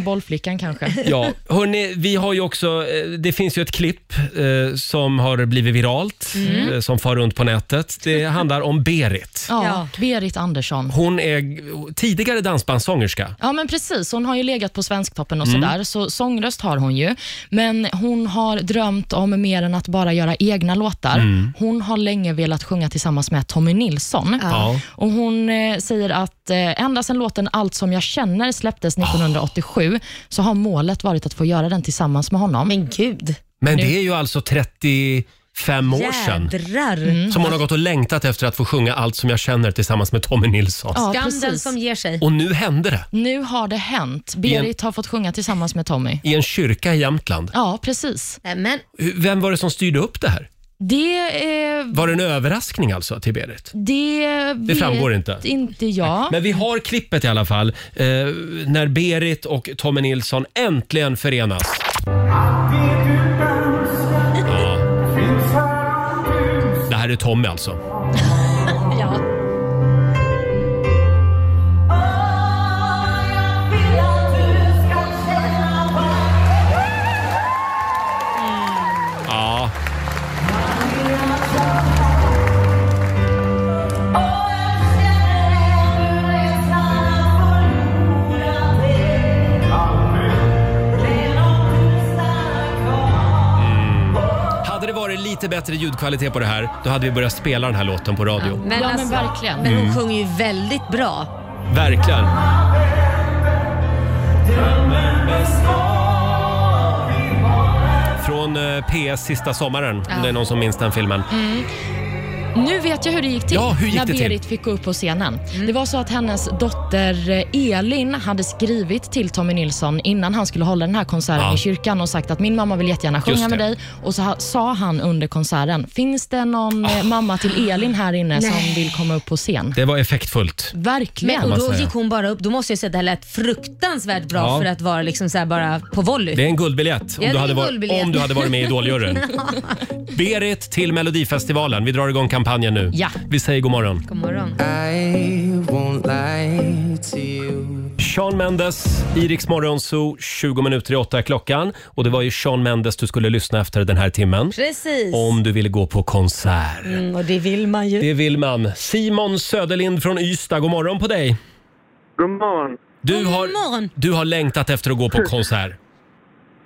bollflickan kanske.
Ja, hörni, vi har ju också, eh, det finns ju ett klipp eh, som har blivit viralt,
Mm.
eh, som far runt på nätet. Det handlar om Berit.
Ja,
Ja.
Berit Andersson.
Hon är g- tidigare dansbandssångerska.
Ja men precis, hon har ju legat på Svensktoppen och
Mm.
sådär, så sångröst har hon ju. Men hon har drömt om mer än att bara göra egna låtar.
Mm.
Hon har länge velat sjunga tillsammans med Tommy Nilsson.
Ja.
Och Hon eh, säger att eh, ända sedan låten Allt som jag känner släpptes
Ah.
1987 så har målet varit att få göra den tillsammans med honom.
Men gud,
Men det är ju alltså 35 år sedan
jädrar.
Mm.
som hon har gått och längtat efter att få sjunga Allt som jag känner tillsammans med Tommy Nilsson.
Ja,
Skam
precis.
som ger sig.
Och nu hände det
Nu har det hänt. Berit har fått sjunga tillsammans med Tommy.
i en kyrka i Jämtland.
Ja, precis.
Nej, men
Hur- Vem var det som styrde upp det här?
Det, eh,
Var det en överraskning alltså till Berit?
det, vet
framgår inte.
inte jag.
Men vi har klippet i alla fall, eh, när Berit och Tommy Nilsson äntligen förenas. Ja. Det här är Tommy alltså.
ja.
Ja. lite bättre ljudkvalitet på det här, då hade vi börjat spela den här låten på radio.
Men, alltså,
verkligen.
Men hon
Mm.
sjunger ju väldigt bra.
Verkligen. Från eh, PS sista sommaren, om det är någon som minns den filmen.
Mm. Nu vet jag hur det gick till
Ja, hur gick
när
det till? Mm.
Berit fick gå upp på scenen. Det var så att hennes dotter eh, Elin hade skrivit till Tommy Nilsson innan han skulle hålla den här konserten
Ja.
i kyrkan och sagt att min mamma vill jättegärna
Just det.
sjunga med dig. Och så ha- sa han under konserten, finns det någon eh, mamma till Elin här inne som
Nej.
vill komma upp på scen?
Ah. Det var effektfullt.
Verkligen.
Men, och
man
då
säga.
gick hon bara upp. Då måste jag säga att det här lät fruktansvärt bra
Ja.
för att vara liksom så här bara på volley.
Det är en guldbiljett om,
Ja, det
du
är
hade
en
varit,
guldbiljett.
om du hade varit med i Idoljuryn. Berit till Melodifestivalen. Vi drar igång kampanjen nu.
Ja.
Vi säger god morgon.
God morgon.
Äh. Sean Mendes, Iriks morgonzoo, 20 minuter i åtta är klockan. Och det var ju Sean Mendes du skulle lyssna efter den här timmen.
Precis.
Om du ville gå på konsert.
Mm, och det vill man ju.
Det vill man. Simon Söderlind från Ystad, god morgon på dig.
God morgon.
Du har, du har längtat efter att gå på konsert.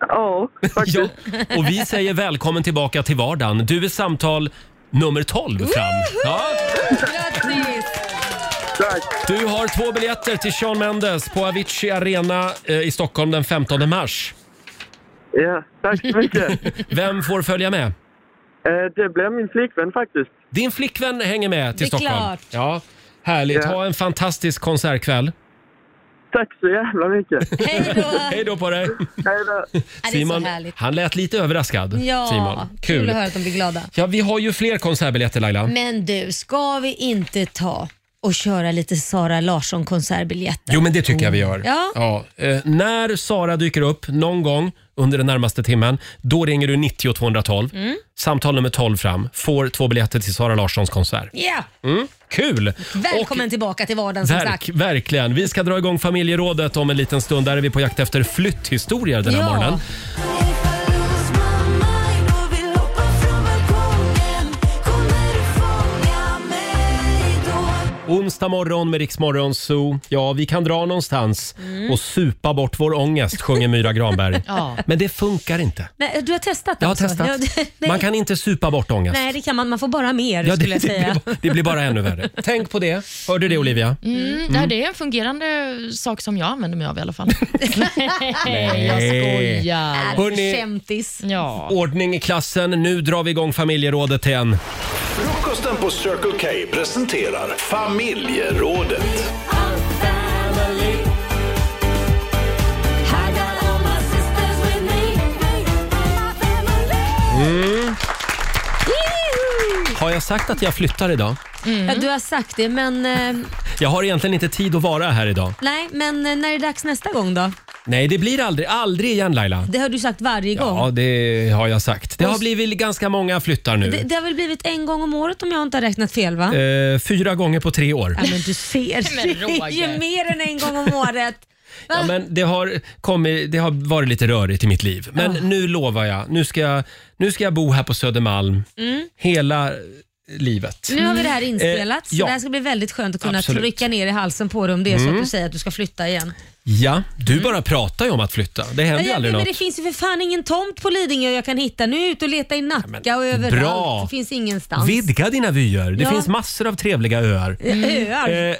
Ja, faktiskt.
Och vi säger välkommen tillbaka till vardagen. Du är samtal nummer 12 fram. Ja.
Grattis!
Du har två biljetter till Sean Mendes på Avicii Arena eh, i Stockholm den 15 mars.
Ja, tack så mycket.
Vem får följa med?
Eh, Det blev min flickvän faktiskt.
Din flickvän hänger med till
Det är
Stockholm.
klart.
Ja, härligt.
Ja.
Ha en fantastisk konsertkväll.
Tack så jävla mycket.
Hej då!
Hej då på dig!
så
Simon,
härligt.
han lät lite överraskad.
Ja,
Simon.
kul.
Kul.
att höra att de blir glada.
Ja, vi har ju fler konsertbiljetter Laila.
Men du, ska vi inte ta och köra lite Sara Larsson konsertbiljetter?
Jo, men det tycker jag vi gör.
Ja.
Eh, när Sara dyker upp någon gång under den närmaste timmen, då ringer du 90 212.
Mm.
Samtal nummer 12 fram. Får två biljetter till Sara Larssons konsert.
Ja,
Mm, kul!
välkommen tillbaka till vardagen som
Verk,
sagt.
verkligen. Vi ska dra igång familjerådet om en liten stund. Där är vi på jakt efter flytthistorier den här
Ja.
morgonen. Onsdag morgon med Riksmorgon Zoo. Ja, vi kan dra någonstans och supa bort vår ångest, sjunger Myra Granberg.
Mm. Ja.
Men det funkar inte.
Nej, du har testat
Jag har
alltså?
testat.
Ja, nej,
Man kan inte supa bort ångest.
nej, det kan man. Man får bara mer
Ja, det,
skulle
det,
jag säga.
blir, ba- det blir bara ännu värre. Tänk på det. Hörde du det Olivia?
Mm,
Mm.
det här- Det är en fungerande sak som jag använder mig av i alla fall.
Nej.
jag
Alltså,
skojar.
Hörrni-
Kämtis.
Ja.
Ordning i klassen. Nu drar vi igång familjerådet igen.
Frukosten på Circle K presenterar familjerådet.
Mm. Har jag sagt att jag flyttar idag?
Ja, du har sagt det, men, eh,
Jag har egentligen inte tid att vara här idag.
nej, men eh, när är det dags nästa gång då?
Nej, det blir aldrig. Aldrig igen Laila.
Det har du sagt varje gång.
Ja, det har jag sagt. Det har
Och-
blivit ganska många flyttar nu.
Det, det har väl blivit en gång om året om jag inte har räknat fel va?
Eh, fyra gånger på tre år.
Ja, men du ser,
Men Roger.
det är ju mer än en gång om året. Va?
Ja, men det, har kommit, det har varit lite rörigt i mitt liv. Men nu lovar jag. Nu ska jag, nu ska jag bo här på Södermalm
Mm.
hela livet.
Nu har vi det här inspelat,
Eh, ja.
så det här ska bli väldigt skönt att kunna
Absolut.
trycka ner i halsen på dig om det är så
Mm.
att du säger att du ska flytta igen.
Ja, du bara pratar ju om att flytta. Det händer ju aldrig
Nej, Mm. men
något.
det finns ju för fan ingen tomt på Lidingö jag kan hitta. Nu är jag ute och letar i Nacka och överallt.
bra.
Det finns ingenstans.
Vidga dina vyer. Det
Ja.
finns massor av trevliga öar.
Mm. Öar.
Eh,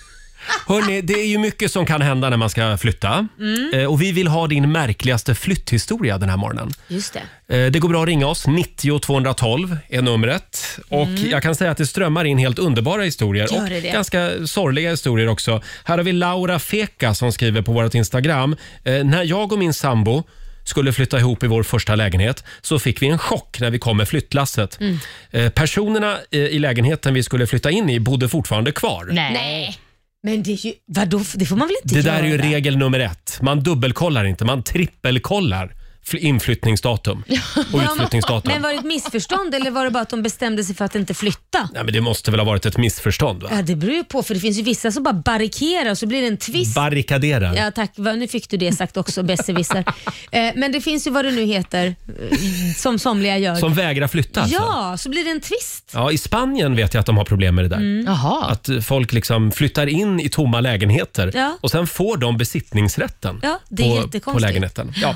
hörni, det är ju mycket som kan hända när man ska flytta.
Mm.
Eh, och vi vill ha din märkligaste flytthistoria den här morgonen.
Just det.
Eh, Det går bra att ringa oss. 90 212 är numret. Och
Mm.
Jag kan säga att det strömmar in helt underbara historier
Gör
och
det det?
ganska sorgliga historier också. Här har vi Laura Feka som skriver på vårt Instagram. Eh, När jag och min sambo skulle flytta ihop i vår första lägenhet så fick vi en chock när vi kom med flyttlasset.
Mm.
Eh, Personerna eh, i lägenheten vi skulle flytta in i bodde fortfarande kvar.
Nej. Men det är ju, vadå, det får man väl inte
Det där är ju
göra?
regel nummer ett. Man dubbelkollar inte, man trippelkollar fl- inflyttningsdatum och utflyttningsdatum.
Men var det ett missförstånd eller var det bara att de bestämde sig för att inte flytta?
Nej, men det måste väl ha varit ett missförstånd? Va?
Ja, det beror ju på för det finns ju vissa som bara barrikerar och så blir det en tvist.
Barrikadera.
Ja tack, Va, nu fick du det sagt också, besserwisser. eh, men det finns ju vad det nu heter, eh, som somliga gör.
Som vägrar flytta alltså.
Ja, så blir det en twist.
Ja, I Spanien vet jag att de har problem med det där.
Mm. Jaha.
Att eh, folk liksom flyttar in i tomma lägenheter
Ja.
och sen får de besittningsrätten
Ja, det är
på,
jättekonstigt.
på lägenheten. Ja.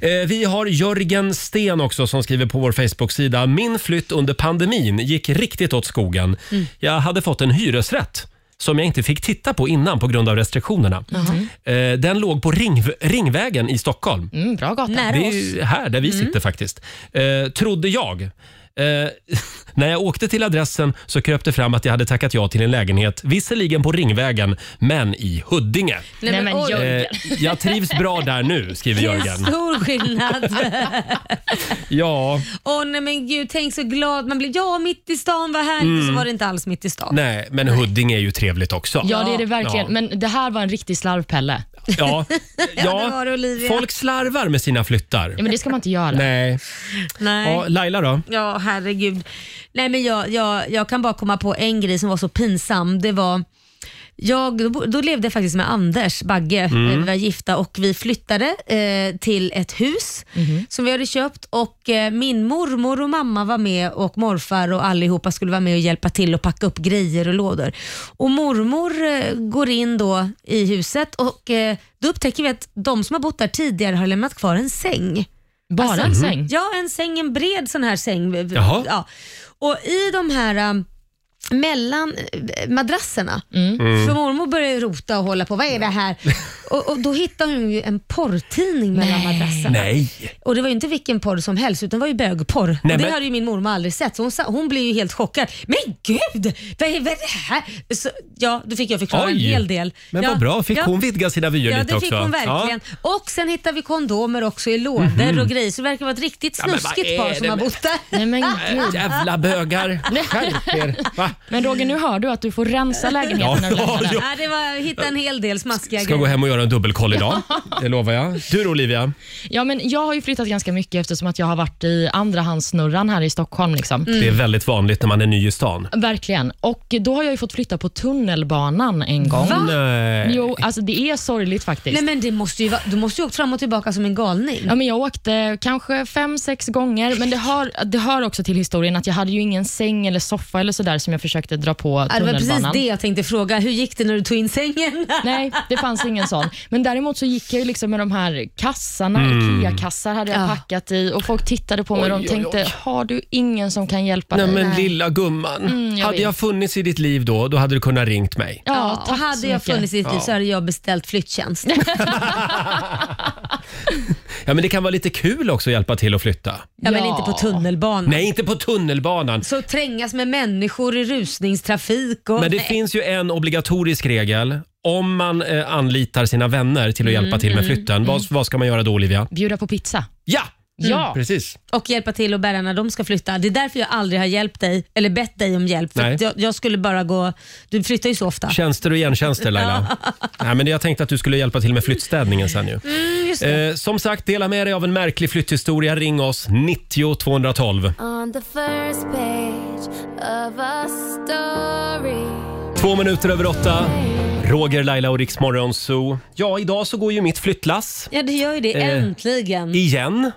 Eh, vi Vi har Jörgen Sten också som skriver på vår Facebook-sida. Min flytt under pandemin gick riktigt åt skogen.
Mm.
Jag hade fått en hyresrätt som jag inte fick titta på innan på grund av restriktionerna.
Mhm.
Eh, Den låg på Ring, Ringvägen i Stockholm.
Mm, bra gata.
Det är ju här där vi sitter faktiskt. Eh, trodde jag. Eh, när jag åkte till adressen så kröp det fram att jag hade tackat ja till en lägenhet, visserligen på Ringvägen, men i Huddinge. Eh,
Nej, men Nej, men oj. Jörgen.
jag trivs bra där nu, skriver
Vilken
Jörgen.
stor skillnad.
Ja,
Åh nej men gud, tänk så glad man blir. Ja, mitt i stan, vad härligt.
Mm.
Och så var det inte alls mitt i stan.
nej, men Huddinge är ju trevligt också.
Ja, det är det verkligen.
Ja.
Men det här var en riktig slarvpelle.
Ja,
det var det, Olivia.
folk slarvar med sina flyttar.
Ja, men det ska man inte göra.
Nej.
Nej.
Ja, Laila då?
Ja, herregud. Nej, men jag, jag, jag kan bara komma på en grej som var så pinsam. Det var jag, då, bo- då levde jag faktiskt med Anders Bagge,
Mm.
Eh, vi var gifta och vi flyttade eh, till ett hus som vi hade köpt och eh, min mormor och mamma var med och morfar och allihopa skulle vara med och hjälpa till och packa upp grejer och lådor. Och mormor eh, går in då i huset och eh, då upptäcker vi att de som har bott där tidigare har lämnat kvar en säng.
Bara en
Mm.
säng?
Alltså, Ja, en säng, en bred sån här säng.
Jaha.
Ja. Och i de här eh, mellan eh, madrasserna.
Mm.
För mormor började ju rota och hålla på, vad är det här? Och, och då hittade hon ju en porrtidning mellan madrasserna.
Nej.
Och det var ju inte vilken porr som helst utan det var ju bögporr. och det
Nej, men-
hade ju min mormor aldrig sett så hon, sa, hon blev ju helt chockad. Men gud, vad är, vad är det här? Så, ja, då fick jag förklara en
Oj.
hel del.
Men
ja,
vad bra, fick
ja.
hon vidga sina vyer
Ja,
lite
det
också?
fick hon verkligen. Och sen hittade vi kondomer också i lådor
Mhm.
och grejer, så det verkar vara ett riktigt
Ja, men vad
snuskigt
är
par
det
som har
med-
bott där. Nej,
men
Äh, jävla bögar. Skärp er. Va?
Men Roger, nu hör du att du får rensa lägenheten
Ja,
när du lämnar den.
ja.
Ja, det var, hitta en hel del smaskiga
Ska gå hem och göra en dubbelkoll idag. Det lovar jag. Du då, Olivia?
Ja, men jag har ju flyttat ganska mycket eftersom att jag har varit i andrahandssnurran här i Stockholm. Liksom.
Mm.
Det är väldigt vanligt när man är ny i stan.
Verkligen. Och Då har jag ju fått flytta på tunnelbanan en gång.
Va? Nej.
Jo, alltså det är sorgligt faktiskt.
Mm. Nej, men det måste ju vara, du måste ju åka fram och tillbaka som en galning.
Ja, men jag åkte kanske fem, sex gånger, men det hör, det hör också till historien att jag hade ju ingen säng eller soffa eller sådär som jag försökte dra på
Ja, det var
tunnelbanan.
precis det jag tänkte fråga. Hur gick det när du tog in sängen?
Nej, det fanns ingen sån. Men däremot så gick jag ju liksom med de här kassarna,
Mm.
IKEA-kassar hade jag
Ja.
packat i och folk tittade på mig
Oj,
och
oj,
de tänkte,
oj.
har du ingen som kan hjälpa
Nej
dig?
men lilla gumman.
Mm, jag
hade
vet.
jag funnits i ditt liv då, då hade du kunnat ringt mig.
Ja, och hade jag funnits i ditt liv
Ja.
så hade jag beställt flyttjänst.
Ja men det kan vara lite kul också att hjälpa till att flytta.
Ja, men inte på tunnelbanan.
Nej, inte på tunnelbanan.
Så trängas med människor i rusningstrafik och...
Men det
Nej.
finns ju en obligatorisk regel. Om man eh, anlitar sina vänner till att
Mm,
hjälpa till med
mm,
flytten, vad, vad ska man göra då Olivia?
Bjuda på pizza.
Ja!
Ja.
Precis.
Och hjälpa till att bära när de ska flytta. Det är därför jag aldrig har hjälpt dig, eller bett dig om hjälp. För
Nej.
att jag, jag skulle bara gå... Du flyttar ju så ofta.
Tjänster och gentjänster Laila. Nej, men jag tänkte att du skulle hjälpa till med flyttstädningen sen ju.
Mm, just det.
Eh, som sagt, dela med dig av en märklig flytthistoria. Ring oss, 90 212.
On the first page of a story
Två minuter över åtta. Roger, Laila och Riks Morgonzoo. Ja, idag så går ju mitt flyttlass.
Ja, det gör ju det.
Eh,
Äntligen.
Igen.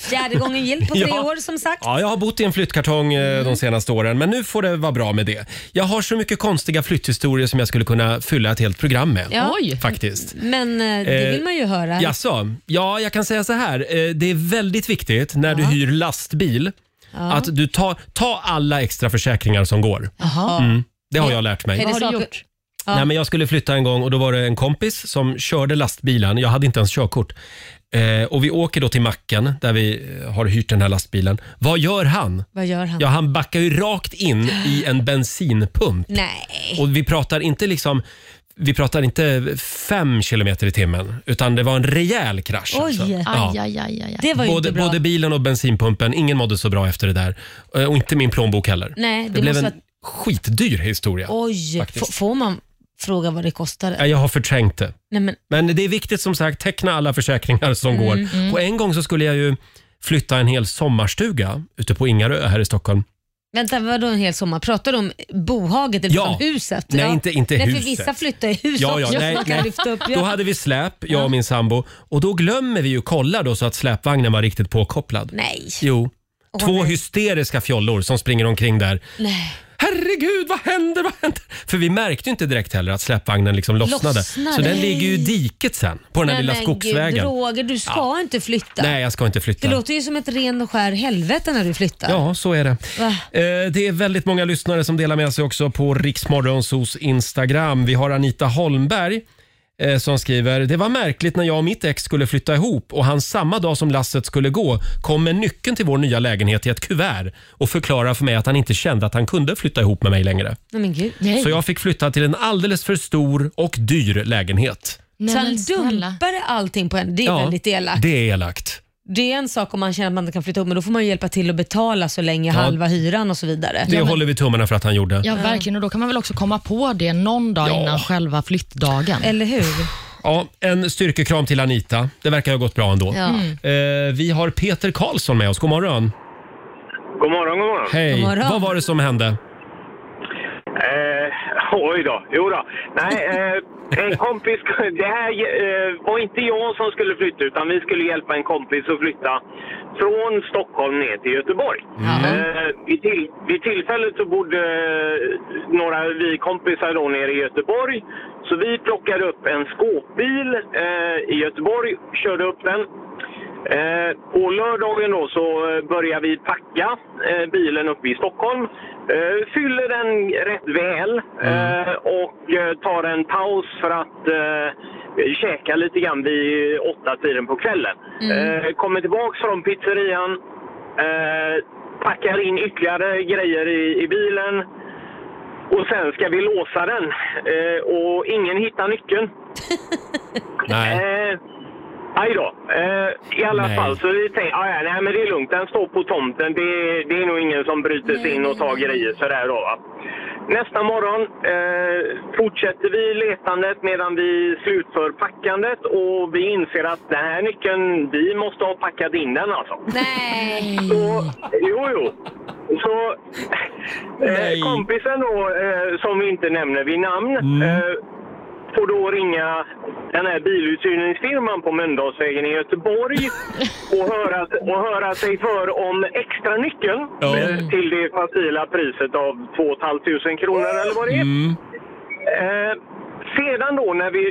Fjärde gången gillt på tre
Ja.
år som sagt.
Ja, jag har bott i en flyttkartong eh,
Mm.
de senaste åren, men nu får det vara bra med det. Jag har så mycket konstiga flytthistorier som jag skulle kunna fylla ett helt program med.
Ja. Oj.
Faktiskt.
Men eh, det
Eh,
vill man ju höra.
Jaså? Ja, jag kan säga så här. Eh, Det är väldigt viktigt när du hyr lastbil
Ja.
att du tar ta alla extra försäkringar som går.
Jaha.
Mm, det har jag lärt mig.
Är det saker- Ja.
Nej, men jag skulle flytta en gång och då var det en kompis som körde lastbilen. Jag hade inte ens körkort. Eh, och vi åker då till macken där vi eh, har hyrt den här lastbilen. Vad gör han?
Vad gör han?
Ja, han backar ju rakt in i en bensinpump.
Nej.
Och vi pratar inte liksom vi pratar inte fem kilometer i timmen, utan det var en rejäl krasch. alltså.
Oj,
Ja.
aj, aj, aj, aj.
både, både bilen och bensinpumpen, ingen mådde så bra efter det där. Eh, Och inte min plånbok heller.
Nej,
det
det
blev en
måste
skitdyr historia.
Oj,
faktiskt.
f- får man fråga vad det kostade?
Ja, jag har förträngt det.
Nej, men,
Men det är viktigt som sagt, teckna alla försäkringar som
Mm,
går.
mm.
Och en gång så skulle jag ju flytta en hel sommarstuga ute på Ingarö här i Stockholm.
vänta, vadå en hel sommar? Pratar du om bohaget eller
Ja.
om huset?
Nej, inte- inte
nej,
huset.
För vissa flyttar i hus
Ja, ja,
också.
nej,
Man kan
nej.
lyfta upp, ja.
Då hade vi släp, jag och min sambo. Och då glömmer vi ju kolla då så att släpvagnen var riktigt påkopplad.
Nej.
Jo.
Åh,
Två
nej.
hysteriska fjollor som springer omkring där.
Nej.
Här herregud, vad händer, vad händer? För vi märkte ju inte direkt heller att släpvagnen liksom lossnade.
Lossnade.
Så den
Nej.
ligger ju i diket sen, på den här
Nej,
lilla
men
skogsvägen.
Gud, Roger, du ska
Ja.
inte flytta.
Nej, jag ska inte
Det
flytta.
låter ju som ett ren och skär helvete när du flyttar.
Ja, så är det.
Va?
Eh, Det är väldigt många lyssnare som delar med sig också på Riksmorgonsos Instagram. Vi har Anita Holmberg eh, som skriver “Det var märkligt när jag och mitt ex skulle flytta ihop och han samma dag som lasset skulle gå kom med nyckeln till vår nya lägenhet i ett kuvert och förklarade för mig att han inte kände att han kunde flytta ihop med mig längre.
Nej, men gud.
Så jag fick flytta till en alldeles för stor och dyr lägenhet.”
så han dumpade allting på en. Det är
Ja,
väldigt elakt.
Det
Det...
är elakt.
är en sak om man känner att man inte kan flytta ihop, men då får man ju hjälpa till att betala så länge halva hyran och så vidare.
Det håller vi tummarna för att han gjorde.
Ja, verkligen. Och då kan man väl också komma på det någon dag
Ja.
innan själva flyttdagen.
Eller hur?
Ja, en styrkekram till Anita. Det verkar ha gått bra ändå.
Ja. Mm.
Eh, vi har Peter Karlsson med oss. God morgon.
God morgon, god morgon.
Hej. Vad var det som hände?
Eh, oj då, jo då. Nej, eh, en kompis, det här eh, var inte jag som skulle flytta utan vi skulle hjälpa en kompis att flytta från Stockholm ner till Göteborg. Eh, vid, till, vid tillfället så bodde eh, några vi kompisar då nere i Göteborg. Så vi plockade upp en skåpbil eh, i Göteborg, körde upp den. Eh, på lördagen då så eh, börjar vi packa eh, bilen uppe i Stockholm. Eh, fyller den rätt väl eh, och eh, tar en paus för att eh, käka lite grann vid åtta tiden på kvällen. Eh, kommer tillbaks från pizzerian, eh, packar in ytterligare grejer i, i bilen och sen ska vi låsa den eh, och ingen hittar nyckeln. Eh, Aj då. Eh, I alla
Nej.
fall, så vi tänkte, ah, ja, nej men det är lugnt, den står på tomten. Det, är- det är nog ingen som bryter sig in och tar grejer sådär då va. Nästa morgon eh, fortsätter vi letandet medan vi slutför packandet och vi inser att den här nyckeln, vi måste ha packat in den alltså.
Nej.
Så, jo, jo. Så eh, kompisen då, eh, som vi inte nämner vid namn, eh, får då ringa den här biluthyrningsfirman på Mölndalsvägen i Göteborg och höra, och höra sig för om extra nyckeln
Ja.
eh, till det facila priset av 2 500 kronor eller vad det är. Eh, sedan då när vi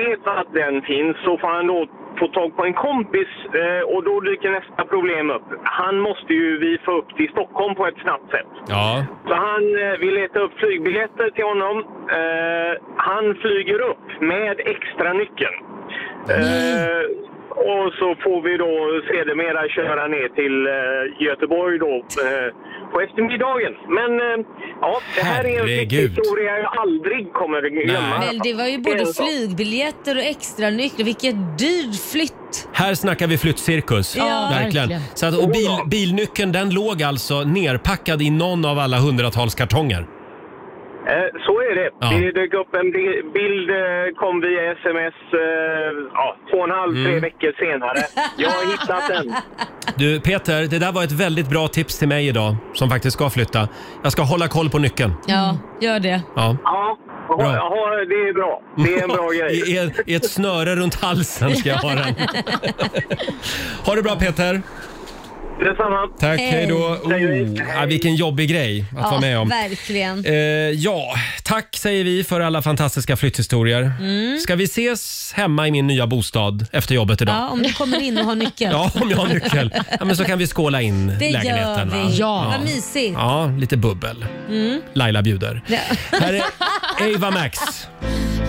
vet att den finns så får han då få tag på en kompis eh, och då dyker nästa problem upp. Han måste ju vi få upp till Stockholm på ett snabbt sätt.
Ja.
Så han eh, vill leta upp flygbiljetter till honom. Eh, han flyger upp med extra nyckeln. Eh, och så får vi då sedermera köra ner till eh, Göteborg då eh, på eftermiddagen. Men eh, ja, det här är en
Herregud.
historia jag aldrig kommer glömma.
Men det var ju
Det är
både
så.
flygbiljetter och extra nycklar. Vilket dyrt flytt.
Här snackar vi flyttcirkus.
Ja,
verkligen.
verkligen.
Så att, och bil, bilnyckeln den låg alltså nerpackad i någon av alla hundratals kartonger.
Eh, Så är det.
Ja.
Det dök upp en bi- bild, eh, kom via sms, eh, ja, två och en halv, tre
Mm.
veckor senare. Jag har hittat den.
Du Peter, det där var ett väldigt bra tips till mig idag som faktiskt ska flytta. Jag ska hålla koll på nyckeln.
Ja, Mm. gör det.
Ja.
Ja, ha-
Bra.
ha- det är bra. Det är en bra grej.
I, i, I ett snöre runt halsen ska jag ha den. Ha det bra Peter!
Detsamma!
Tack,
Hej.
hej då! Oh, ja, vilken jobbig grej att vara med om.
Verkligen.
Eh, ja, tack säger vi för alla fantastiska flytthistorier.
Mm.
Ska vi ses hemma i min nya bostad efter jobbet idag?
Ja, om du kommer in och har nyckeln.
Ja, om jag har nyckel. Ja, men så kan vi skåla in
Det gör
lägenheten.
vi.
Va?
Ja. Vad mysigt.
Ja, lite bubbel.
Mm.
Laila bjuder.
Ja.
Här är Ava Max.
I,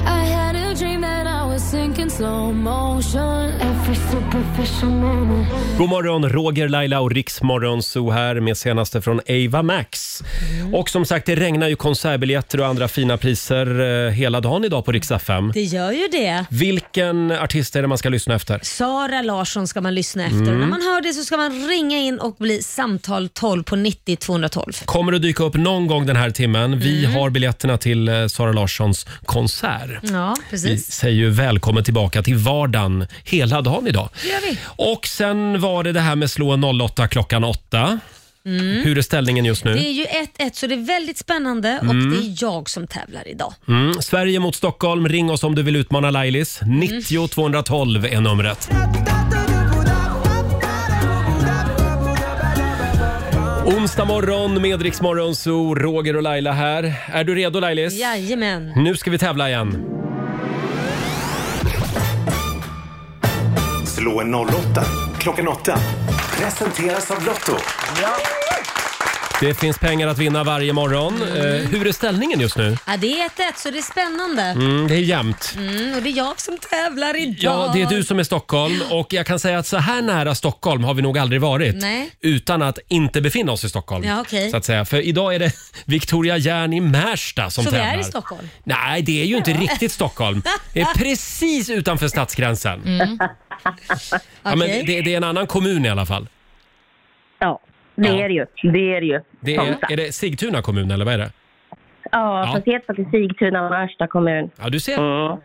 I had a dream that I was sinking slow motion. Every superficial moment.
God morgon, Roger, Laila och Riksmorgon Zoo här med senaste från Ava Max.
Mm.
Och som sagt, det regnar ju konsertbiljetter och andra fina priser eh, hela dagen idag på Rix FM.
Det gör ju det.
Vilken artist är det man ska lyssna efter?
Sara Larsson ska man lyssna efter.
Mm.
När man hör det så ska man ringa in och bli samtal 12 på 90 212.
Kommer att dyka upp någon gång den här timmen. Vi
Mm.
har biljetterna till eh, Sara Larssons konsert.
Ja,
Vi
precis.
säger ju välkommen tillbaka till vardagen hela dagen idag.
Det gör vi.
Och sen var det det här med slå en 08 klockan 8.
Mm.
Hur är ställningen just nu?
Det är ju 1-1 så det är väldigt spännande
Mm.
och det är jag som tävlar idag.
Mm. Sverige mot Stockholm. Ring oss om du vill utmana Lailis.
Mm.
90 212 är numret. Onsdag morgon med Rix Morgon Zoo, Roger och Laila här. Är du redo Lailis?
Jajamän.
Nu ska vi tävla igen.
Slå en 08 klockan 8. Presenteras av Lotto.
Det finns pengar att vinna varje morgon. Eh, hur är ställningen just nu?
Ja, det är 1-1 så det är spännande.
Mm, det är jämnt.
Mm, och det är jag som tävlar idag.
Ja, det är du som är Stockholm och jag kan säga att så här nära Stockholm har vi nog aldrig varit
Nej.
utan att inte befinna oss i Stockholm.
Ja, okej.
Så att säga. För idag är det Victoria Järn i Märsta som
Så vi
tävlar.
är i Stockholm?
Nej, det är ju inte
Ja.
riktigt Stockholm. Det är precis utanför stadsgränsen.
Mm.
Ja, men
Okej.
det, det är en annan kommun i alla fall.
Ja, det är det ju. Det är det ju.
Det
Som
är,
sagt.
är det Sigtuna kommun eller vad är det?
Ja,
Ja.
fast det heter faktiskt Sigtuna, Märsta kommun.
Ja, du ser.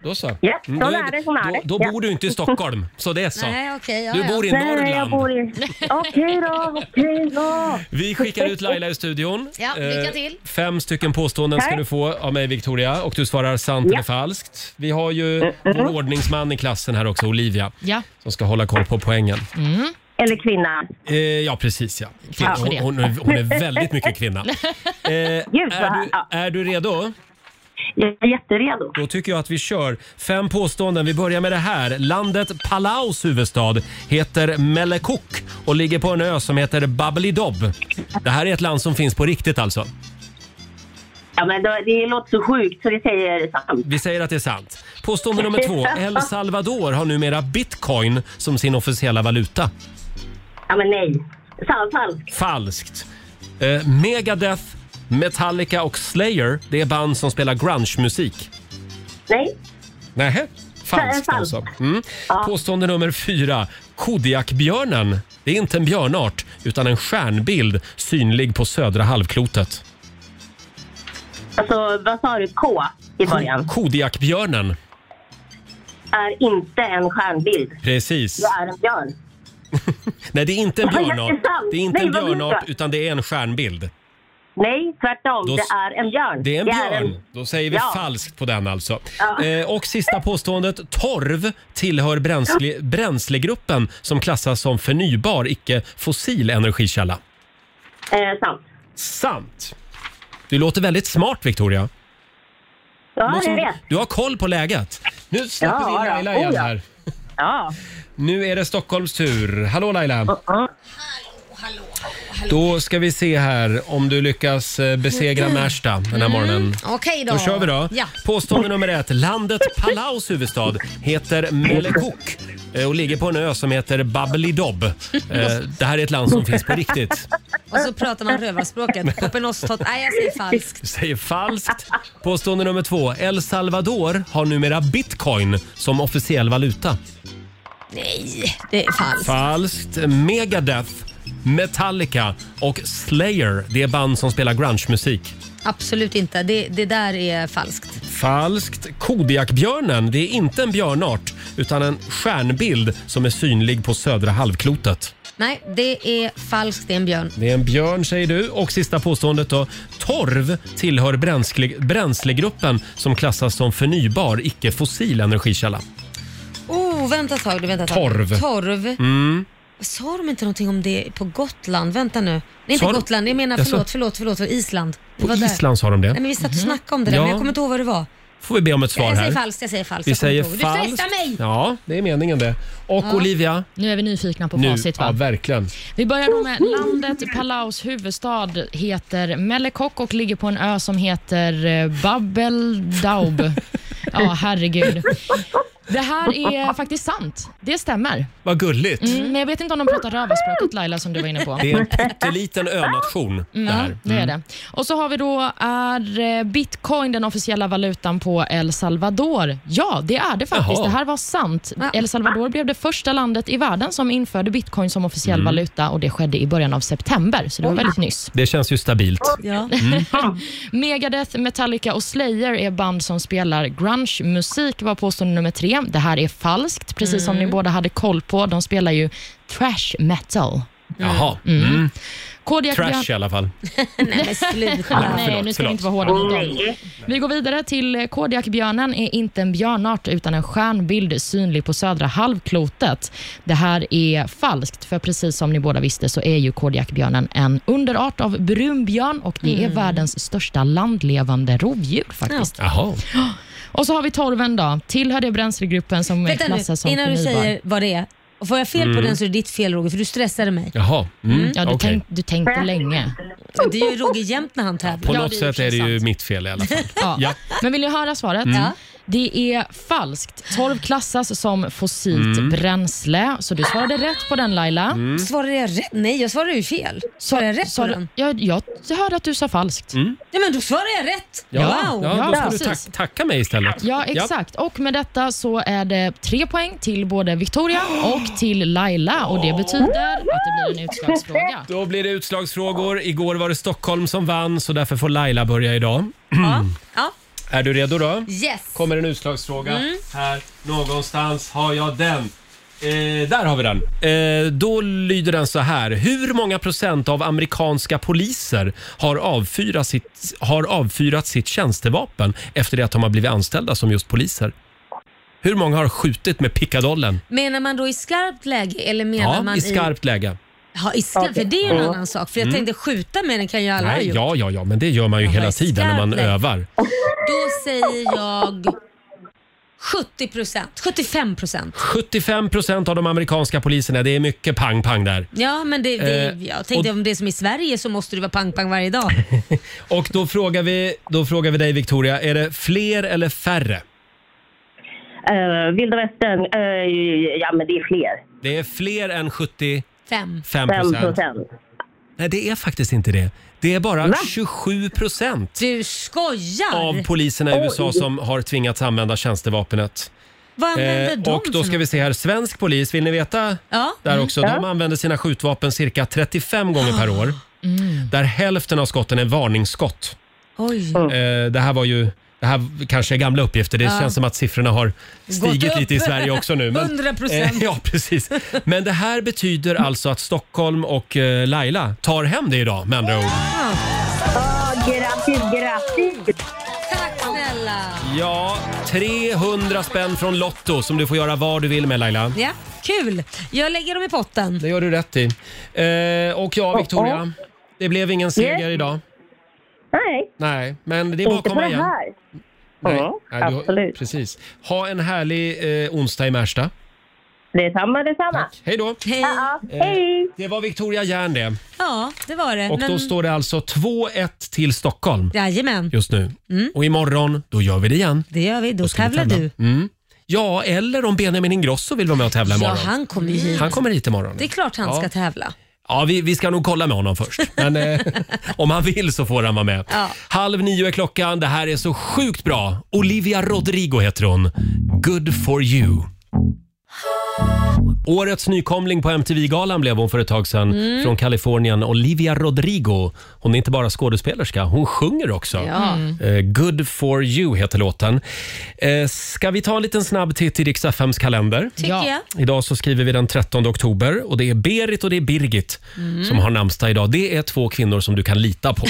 Då så.
Ja,
Mm,
så
då
är det, så är det.
Då, då
Ja.
bor du inte i Stockholm, så det är så.
Nej,
okej,
ja, Du ja. bor i
Nej, jag
Norrland.
bor i... Okej då, okej då.
Vi skickar ut Laila i studion.
Ja, lycka till.
Eh, Fem stycken påståenden ska
Tack.
du få av mig Victoria och du svarar sant eller falskt. Vi har ju vår ordningsman i klassen här också, Olivia,
Ja.
som ska hålla koll på poängen.
Eller kvinna.
Eh, ja, precis ja. Kvinna.
Tack för
Hon,
det.
hon, är- hon är väldigt mycket kvinna. Eh, är, du, är du redo?
Jag är jätteredo.
Då tycker jag att vi kör fem påståenden. Vi börjar med det här. Landet Palaus huvudstad heter Melekok och ligger på en ö som heter Babelidob. Det här är ett land som finns på riktigt alltså.
Ja, men det, det låter så sjukt så vi säger sant.
Vi säger att det är sant. Påstående nummer två. El Salvador har numera bitcoin som sin officiella valuta.
Ja, men nej. Sant, falskt.
Falskt. Eh, Megadeth, Metallica och Slayer, det är band som spelar grunge-musik.
Nej.
Nähä, falskt
Falskt.
alltså. Mm. Påstående nummer fyra. Kodiakbjörnen, det är inte en björnart utan en stjärnbild synlig på södra halvklotet.
Alltså, vad sa du? K i början.
Kodiakbjörnen,
Är inte en stjärnbild.
precis.
Det är en björn.
Nej, det är inte en
Vad är det
björnart.
sant?
Det är inte
Nej,
en
vad menar
björnart
du?
utan det är en stjärnbild.
Nej, tvärtom.
Då-
det är en björn.
Det är en björn.
en-
Då säger vi
Ja.
falskt på den alltså.
Ja.
Eh, och sista påståendet. Torv tillhör bränsle, bränslegruppen som klassas som förnybar, icke fossil energikälla.
Eh, sant.
Sant. Du låter väldigt smart, Victoria.
Ja,
Måste-
jag vet.
Du har koll på läget. Nu släpper
Ja,
vi in
ja.
Laila igen
Oh, ja.
här.
Ja.
Nu är det Stockholms tur. Hallå Laila. Då ska vi se här om du lyckas eh, besegra Märsta den här morgonen.
Okej då.
Då kör vi då.
Ja.
Påstående nummer ett. Landet Palaus huvudstad heter Melekok eh, och ligger på en ö som heter Babelidob. Eh, Det här är ett land som finns på riktigt.
Och så pratar man rövarspråket. Papenostot. Nej, jag säger falskt.
Du säger falskt. Påstående nummer två. El Salvador har numera bitcoin som officiell valuta.
Nej, det är falskt.
Falskt. Megadeth, Metallica och Slayer, det är band som spelar grunge-musik.
Absolut inte. Det, det där är falskt.
Falskt. Kodiakbjörnen, det är inte en björnart utan en stjärnbild som är synlig på södra halvklotet.
Nej, det är falskt. Det är en björn.
Det är en björn säger du. Och sista påståendet då. Torv tillhör bränsle, bränslegruppen som klassas som förnybar, icke-fossil energikälla.
Oh, vänta ett tag. du, Vänta ett tag.
Torv.
Torv.
Mm.
Sa de inte någonting om det på Gotland? Vänta nu. Nej, inte
Sa de-
Gotland. Jag menar
Jag sa-
förlåt, förlåt, förlåt. förlåt Island. Det
På
var där.
Island sa de det.
Nej, men vi satt och snackade om det där,
Ja.
men jag kommer inte ihåg vad det var.
Får vi be om ett svar
jag säger
här.
falskt, jag säger falskt.
Vi
jag kommer
säger
inte ihåg. Du
falskt.
stressar mig!
Ja, det är meningen det. Och
Ja.
Olivia,
Nu är vi nyfikna på
nu.
facit. Va?
Ja, verkligen.
Vi börjar då med landet Palaus huvudstad heter Melekok och ligger på en ö som heter eh, Babeldaub. Ja, herregud. Det här är faktiskt sant. Det stämmer.
Vad gulligt.
Mm, men jag vet inte om de pratar rövarspråket Laila, som du var inne på.
Det är en pytteliten önation det
Ja,
här.
det är
Mm.
det. Och så har vi då, är eh, bitcoin den officiella valutan på El Salvador? Ja, det är det faktiskt.
Jaha.
Det här var sant. El Salvador blev det första landet i världen som införde bitcoin som officiell
Mm.
valuta och det skedde i början av september, så det var väldigt nyss.
Det känns ju stabilt.
Ja.
Mm.
Megadeth, Metallica och Slayer är band som spelar grunge-musik, var påstående nummer tre. Det här är falskt, precis som ni båda hade koll på. De spelar ju trash metal.
Jaha. Mm.
Kodiak
Trash i alla fall.
Nej, men
Ja,
sluta. Nej,
förlåt,
nu ska vi
förlåt.
inte vara hårda mot dem. Vi går vidare till Kodiakbjörnen är inte en björnart utan en stjärnbild synlig på södra halvklotet. Det här är falskt, för precis som ni båda visste så är ju Kodiakbjörnen en underart av brunbjörn och det
Mm.
är världens största landlevande rovdjur faktiskt.
Jaha.
Och så har vi torven då. Tillhör det bränslegruppen som
Vänta nu,
klassas som
innan du
förnybar?
säger vad det är. Och Får jag fel på
Mm.
den så är det ditt fel Roger, för du stressade mig.
Jaha. Mm.
Ja, du,
okej.
tänk, du tänkte länge.
Det är ju Roger jämt när han
På
tävlar.
något sätt är det ju mitt fel i alla fall.
Ja.
Ja.
Men vill ni höra svaret?
Mm. Ja.
Det är falskt. Torv klassas som fossilt
Mm.
bränsle, så du svarade rätt på den Laila.
Mm.
Svarade jag rätt? Nej, jag svarade ju fel. Svarade jag rätt på
Sa du,
den?
jag, jag hörde att du sa falskt.
Mm.
Ja, men då svarade jag rätt!
Ja,
Wow.
ja, då
Ja,
får du
precis.
ta- tacka mig istället.
Ja, exakt. Och med detta så är det tre poäng till både Victoria och till Laila och det betyder att det blir en utslagsfråga.
Då blir det utslagsfrågor. Igår var det Stockholm som vann så därför får Laila börja idag. Mm.
Ja.
Är du redo då?
Yes.
Kommer en utslagsfråga.
Mm.
Här någonstans har jag den. Eh, där har vi den. Eh, då lyder den så här. Hur många procent av amerikanska poliser har avfyrat sitt, har avfyrat sitt tjänstevapen efter det att de har blivit anställda som just poliser? Hur många har skjutit med pickadollen?
Menar man då i skarpt läge eller menar
Ja,
man
i skarpt läge.
Ja, i skarpt, för det är ju en
Ja.
annan sak. För jag
Mm.
tänkte skjuta med den kan ju alla ha
Nej,
gjort.
ja, ja, ja, men det gör man ju hela tiden när
skarpt
man
läge.
övar.
Då säger jag 70 procent, 75 procent.
75 procent av de amerikanska poliserna, det är mycket pang-pang där.
Ja, men det, det,
Eh,
jag tänkte
och-
om det är som i Sverige så måste det vara pang-pang varje dag.
Och då frågar, vi, då frågar vi dig Victoria, är det fler eller färre?
Eh, Vilda västern, eh, ja men det är fler.
Det är fler än 75
Fem.
procent. Nej, det är faktiskt inte det. Det är bara
Va?
27 procent
Du skojar!
av poliserna i USA
Oj.
som har tvingats använda tjänstevapnet. Eh,
Vad använder de
och då
för
ska vi se här, svensk polis, vill ni veta?
Ja.
Där också. De använder sina skjutvapen cirka 35 gånger per år.
Mm.
Där hälften av skotten är varningsskott.
Oj.
Eh, det här var ju det här kanske är gamla uppgifter. Det
Mm. Ja.
känns som att siffrorna har
Gått
stigit
upp.
lite i Sverige också nu.
100%.
Eh, ja, precis. Men det här betyder alltså att Stockholm och eh, Laila tar hem det idag med andra ord.
Oh, grattis, grattis!
Tack snälla!
Ja, 300 spänn från Lotto som du får göra vad du vill med Laila.
Ja, kul! Jag lägger dem i potten.
Det gör du rätt i. Eh, och ja, Victoria. Det blev ingen seger
Nej.
idag.
Nej.
Nej, men det är
Inte
bara att
på
komma
det
igen.
här.
Nej,
Ja,
nej, du har-
absolut.
Precis. Ha en härlig eh, onsdag i Märsta.
Detsamma, detsamma.
Hej då!
Ja,
Eh.
hej!
Det var Victoria Järn det.
Ja, det var det.
Och då står det alltså 2-1 till Stockholm
Jajamän,
just nu.
Mm.
Och imorgon, då gör vi det igen.
det gör vi. Då,
ska vi
tävlar
tävla.
du.
Mm. Ja, eller om Benjamin Ingrosso vill vara med och tävla
Ja,
imorgon.
han kommer ju hit.
Han kommer hit imorgon.
Det är klart han
Ja.
ska tävla.
Ja, vi, vi ska nog kolla med honom först. Men eh, om han vill så får han vara med.
Ja.
Halv nio är klockan. Det här är så sjukt bra. Olivia Rodrigo heter hon. Good for you. Årets nykomling på MTV-galan blev hon för ett tag sedan.
Mm.
Från Kalifornien. Olivia Rodrigo. Hon är inte bara skådespelerska, hon sjunger också.
Ja. Mm.
Eh, Good for you heter låten. Eh, ska vi ta en liten snabb titt i Rix FMs kalender?
Tycker Ja. jag.
Idag så skriver vi den 13 oktober och det är Berit och det är Birgit
Mm.
som har namnsdag idag. Det är två kvinnor som du kan lita på.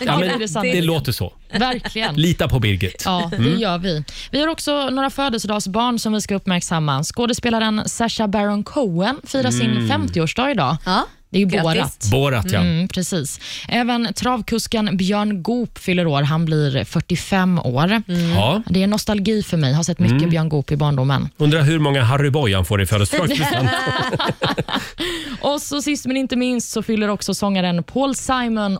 Ja, men det Mm. låter så.
Verkligen.
Lita på Birgit.
Ja, det
Mm.
gör vi. Vi har också några födelsedagsbarn som vi ska uppmärksamma. Skådespelaren Sacha Baron Cohen firar sin
Mm.
50-årsdag idag. Det är ju
Grattis.
Borat.
Borat, ja.
Mm, precis. Även travkusken Björn Goop fyller år. Han blir 45 år.
Ja.
Det är nostalgi för mig. Jag har sett mycket
Mm.
Björn Goop i barndomen.
Undrar hur många Harry Boy han får i födelsedagspresent.
Och så sist men inte minst så fyller också sångaren Paul Simon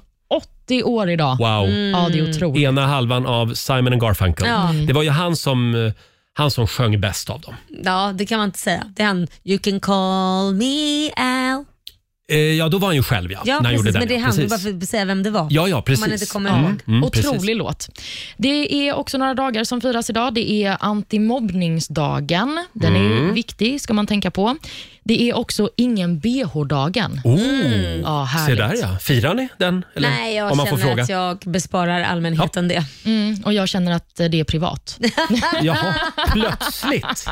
80 år idag.
Wow.
Ja, det är otroligt.
Ena halvan av Simon and Garfunkel.
Mm. Ja. Mm.
Det var ju han som, eh, han som sjöng bäst av dem.
Ja, det kan man inte säga. Det är han, you can call me Al.
Eh, ja, då var han ju själv ja.
Ja,
när han
precis,
gjorde den,
men det är
ja.
han. Du
Precis.
bara för att säga vem det var.
Ja, ja, precis.
Om man inte kommer
Mm,
ihåg.
mm,
Otrolig
precis.
låt. Det är också några dagar som firas idag. Det är antimobbningsdagen. Den är
Mm.
viktig, ska man tänka på. Det är också ingen bh-dagen.
Oh,
Ja,
se
härligt.
där ja. Firar ni den? Eller,
Nej, jag
om man får
känner
fråga.
att jag besparar allmänheten
det.
Oh.
Mm, och jag känner att eh, det är privat.
Jaha, plötsligt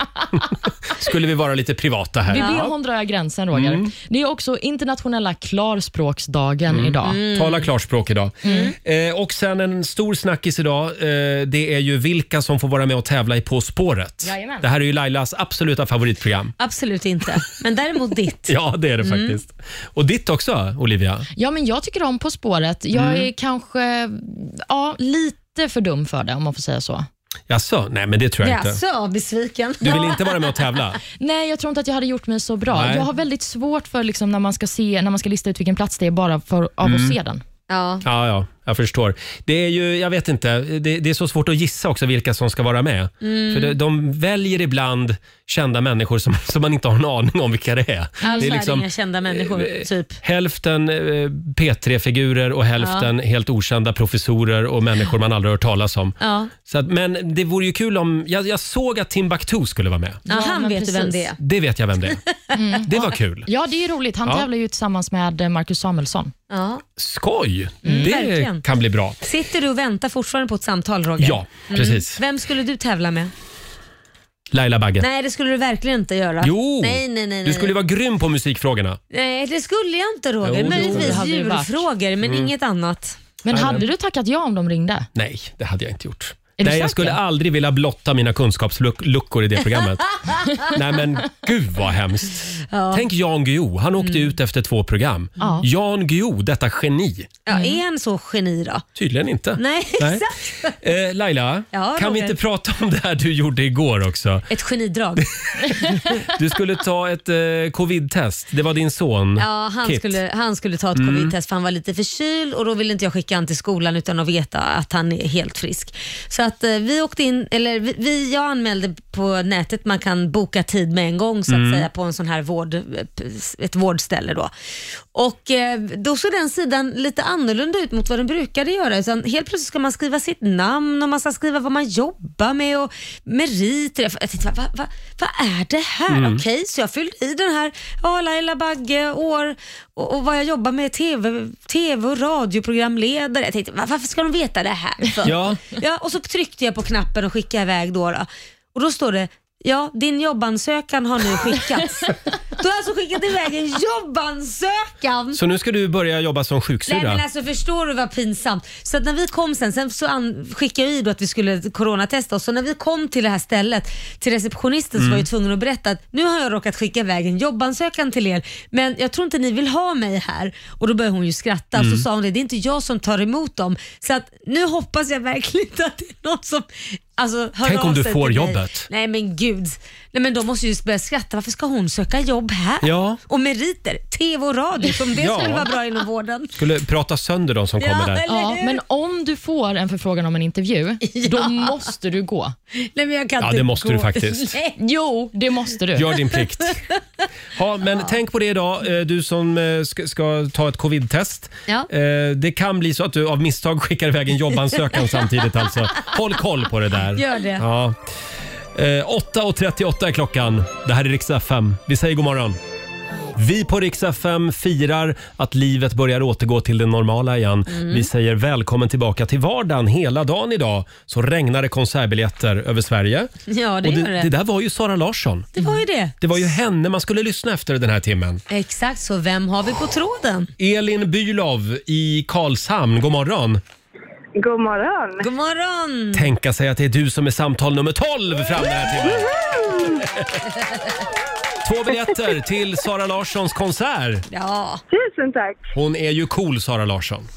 skulle vi vara lite privata här.
Vid
Ja.
bhn drar jag gränsen, Roger.
Mm.
Det är också internationella klarspråksdagen
Mm.
idag.
Tala klarspråk idag.
Mm.
Eh, och sen en stor snackis idag, eh, det är ju vilka som får vara med och tävla i På spåret.
Jajamän.
Det här är ju Lailas absoluta favoritprogram.
Absolut inte. Men däremot ditt.
Ja, det är det
Mm.
faktiskt. Och ditt också, Olivia?
Ja, men jag tycker om På spåret. Jag
Mm.
är kanske ja, lite för dum för det, om man får säga så.
Jaså? Nej, men det tror jag inte.
besviken.
Du vill inte vara med och tävla?
Nej, jag tror inte att jag hade gjort mig så bra.
Nej.
Jag har väldigt svårt för liksom, när, man ska se, när man ska lista ut vilken plats det är bara för, av
Mm.
att se den.
Ja.
Ja, ja, jag förstår. Det är ju, jag vet inte, det, det är så svårt att gissa också vilka som ska vara med.
Mm.
För de, de väljer ibland kända människor som, som man inte har en aning om vilka det är.
Alltså
det
är
är liksom Eh,
inga kända människor, typ.
hälften eh, P3-figurer och hälften helt okända professorer och människor man aldrig hört talas om.
Ja.
Så att, men det vore ju kul om, jag, jag såg att Timbuktu skulle vara med.
Ja, han vet du vem det är.
Det vet jag vem det är.
Mm.
Det var kul.
Ja, det är ju roligt. Han
Ja.
tävlar ju tillsammans med eh, Marcus Samuelsson.
Ja.
Skoj!
Mm.
Det
Verkligen.
kan bli bra.
Sitter du och väntar fortfarande på ett samtal, Roger?
Ja, precis.
Vem skulle du tävla med?
Laila Bagge.
Nej, det skulle du verkligen inte göra.
Jo!
Nej, nej, nej.
Du
nej.
skulle ju vara grym på musikfrågorna.
Nej, det skulle jag inte Roger.
Jo, det skulle
Möjligtvis
du.
Det hade ju varit.
djurfrågor, men
Mm.
inget annat.
Men
Nej,
hade
nej.
du tackat ja om de ringde?
Nej, det hade jag inte gjort.
Är du
Nej,
säker?
jag skulle aldrig vilja blotta mina kunskapsluckor i det programmet. Nej men gud vad hemskt.
Ja. Mm.
Tänk Jan Guillou, han åkte ut efter två program.
Ja.
Jan Guillou, detta geni.
Ja, Är han så geni då?
Tydligen inte.
Nej, exakt.
Eh, Laila,
Ja,
kan vi
Roger.
inte prata om det här du gjorde igår också?
Ett genidrag.
Du skulle ta ett eh, covid-test. Det var din son
Ja, han,
Kit.
skulle, han skulle ta ett
Mm.
covid-test för han var lite förkyld och då ville inte jag skicka han till skolan utan att veta att han är helt frisk. Så att eh, vi åkte in, eller vi- vi, jag anmälde på nätet, man kan boka tid med en gång så att
Mm.
säga på en sån här vård, ett vårdställe då. Och eh, då såg den sidan lite annorlunda ut mot vad den brukade göra. Utan helt plötsligt ska man skriva sitt namn och man ska skriva vad man jobbar med och meriter. Jag tänkte, vad, vad, vad är det här?
Mm.
Okej, så jag fyllde i den här, ja, Laila Bagge, år och, och vad jag jobbar med, TV, TV och radioprogramledare. Jag tänkte, "Va- varför ska de veta det här? för?"
Ja.
ja, och så tryckte jag på knappen och skickade iväg då. då. Och då står det, ja, din jobbansökan har nu skickats. Du har alltså skickat iväg en jobbansökan.
Så nu ska du börja jobba som
Nej
sjuksyrra?
men alltså förstår du vad pinsamt? Så att när vi kom sen, sen så an, skickade jag i då att vi skulle coronatesta oss. Så när vi kom till det här stället, till receptionisten så
Mm.
var jag tvungen att berätta att nu har jag råkat skicka iväg en jobbansökan till er men jag tror inte ni vill ha mig här. Och då började hon ju skratta och
Mm.
så sa hon det, det är inte jag som tar emot dem. Så att nu hoppas jag verkligen inte att det är någon som alltså, hör
Tänk
av
om du
sig
får
till mig.
jobbet.
Nej men gud. Nej men de måste ju börja skratta. Varför ska hon söka jobb här?
Ja.
Och meriter, TV och radio, som det
Ja.
skulle vara bra inom vården.
Skulle prata sönder de som kommer där.
Ja, men om du får en förfrågan om en intervju, då måste du gå.
Nej, men jag kan
Ja, inte det måste du gå. faktiskt.
Jo, det måste du.
Gör din plikt. Ja, men tänk på det idag, eh, du som eh, ska, ska ta ett covid-test.
Ja.
Eh, Det kan bli så att du av misstag skickar iväg en jobbansökan samtidigt. Alltså. Håll koll på det där.
Gör det.
Ja. Eh, 8.38 är klockan. Det här är Rix FM. Vi säger god morgon. Vi på Rix FM firar att livet börjar återgå till det normala igen.
Mm.
Vi säger välkommen tillbaka till vardagen. Hela dagen idag så regnar det konsertbiljetter över Sverige.
Ja, det
Och
gör det.
det. Det där var ju Sara Larsson.
Det var ju det.
Det var ju henne man skulle lyssna efter den här timmen.
Exakt, så vem har vi på tråden?
Elin Bylov i Karlshamn, god morgon.
God morgon.
God morgon.
Tänka sig att det är du som är samtal nummer 12 fram den här timmen. Två biljetter till Sara Larssons konsert.
Ja.
Tusen tack.
Hon är ju cool, Sara Larsson.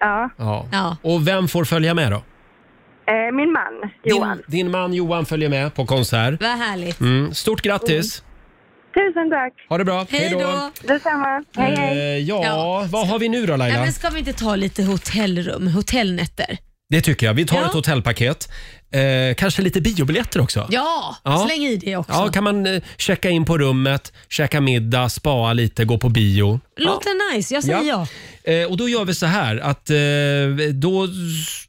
Ja.
Ja.
ja.
Och vem får följa med då?
Eh, min man, Johan.
Din, din man Johan följer med på konsert.
Vad härligt.
Mm. Stort grattis!
Tusen tack.
Ha det bra!
Hej då.
Detsamma. Hej,
Eh,
hej.
ja, vad har vi nu då
Nej,
Laila?
men ska vi inte ta lite hotellrum, hotellnätter?
Det tycker jag. Vi tar
Ja.
ett hotellpaket. Eh, kanske lite biobiljetter också?
Ja,
Ja.
släng i det också.
Ja, kan man eh, checka in på rummet, käka middag, spa lite, gå på bio.
Låter nice, jag säger ja.
Eh, och då gör vi så här att eh, då s-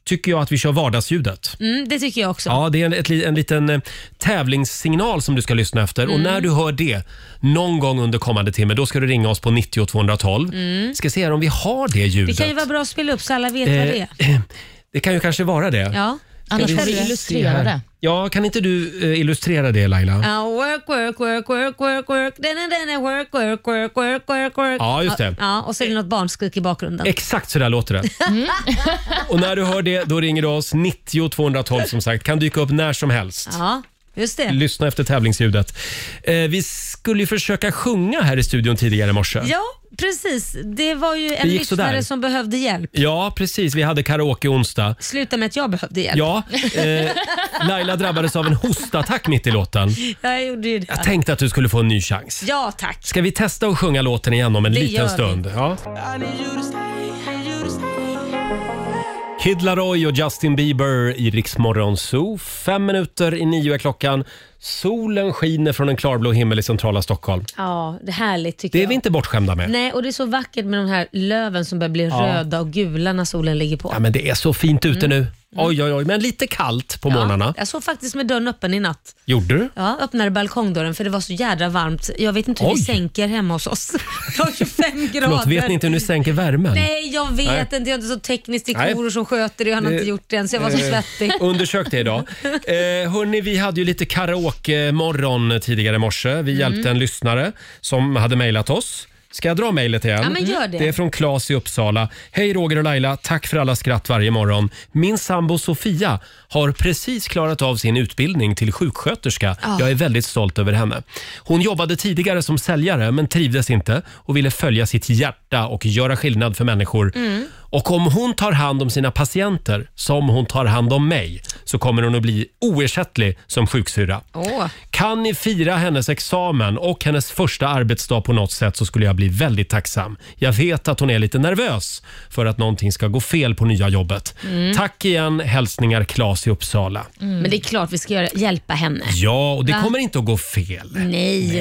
tycker jag att vi kör vardagsljudet.
Mm, det tycker jag också.
Ja, det är en, ett, li- en liten eh, tävlingssignal som du ska lyssna efter. Och
Mm.
när du hör det någon gång under kommande timme, då ska du ringa oss på 90 212.
Mm.
Ska se här om vi har det ljudet.
Det kan ju vara bra att spela upp så alla vet vad det är.
Eh, det kan ju kanske vara det.
Ja.
Ska
Annars
vi
får vi
se
illustrera
här.
det.
Ja, kan inte du eh, illustrera det Laila?
Ja, work, work, work, work, work, work, den, den, den, work, work, work, work, work, work.
Ja, just det.
Ja, och så är det något barnskrik i bakgrunden.
Exakt så där låter det.
Mm.
Och när du hör det, då ringer du oss. 90 212 som sagt. Kan dyka upp när som helst.
Ja, just det.
Lyssna efter tävlingsljudet. Eh, vi skulle ju försöka sjunga här i studion tidigare i morse.
Ja, precis. Det var ju en
gick sådär.
lyssnare som behövde hjälp.
Ja, precis. Vi hade karaoke onsdag.
Sluta med att jag behövde hjälp.
Ja, eh, Laila drabbades av en hostattack mitt i låten.
jag gjorde ju det.
Jag tänkte att du skulle få en ny chans.
Ja, tack.
Ska vi testa att sjunga låten igen om en
Det gör
liten
vi.
stund? Ja. Kid Laroi och Justin Bieber i Rix Morgon Zoo. Fem minuter i nio är klockan. Solen skiner från en klarblå himmel i centrala Stockholm.
Ja, det är härligt tycker
Det är
jag.
vi inte bortskämda med.
Nej, och det är så vackert med de här löven som börjar bli
Ja.
röda och gula när solen ligger på.
Ja, men det är så fint ute
Mm.
nu. Oj, oj, oj. Men lite kallt på morgnarna.
Jag såg faktiskt med dörren öppen i natt.
Gjorde du?
Ja, öppnade balkongdörren för det var så jädra varmt. Jag vet inte hur
Oj.
vi sänker hemma hos oss. Det var 25 grader.
Förlåt, vet ni inte hur ni sänker värmen?
Nej, jag vet
Nej.
inte. Jag är inte så teknisk. Det
Nej.
är koror som sköter det. Jag har
Det-
inte gjort det än, så jag var så
Eh,
svettig.
Undersök det idag. Eh, hörni, vi hade ju lite karaoke-morgon tidigare i morse.
Mm.
Vi hjälpte en lyssnare som hade mejlat oss. Ska jag dra mejlet igen?
Ja, men gör det.
det är från Claes i Uppsala. Hej Roger och Laila, tack för alla skratt varje morgon. Min sambo Sofia har precis klarat av sin utbildning till sjuksköterska.
Ah.
Jag är väldigt stolt över henne. Hon jobbade tidigare som säljare men trivdes inte och ville följa sitt hjärta och göra skillnad för människor.
Mm.
Och om hon tar hand om sina patienter som hon tar hand om mig så kommer hon att bli oersättlig som sjuksyrra.
Åh.
Kan ni fira hennes examen och hennes första arbetsdag på något sätt så skulle jag bli väldigt tacksam. Jag vet att hon är lite nervös för att någonting ska gå fel på nya jobbet.
Mm.
Tack igen, hälsningar Claes i Uppsala.
Men det är klart vi ska göra, hjälpa henne.
Ja, och det
Va?
kommer inte att gå fel.
Nej.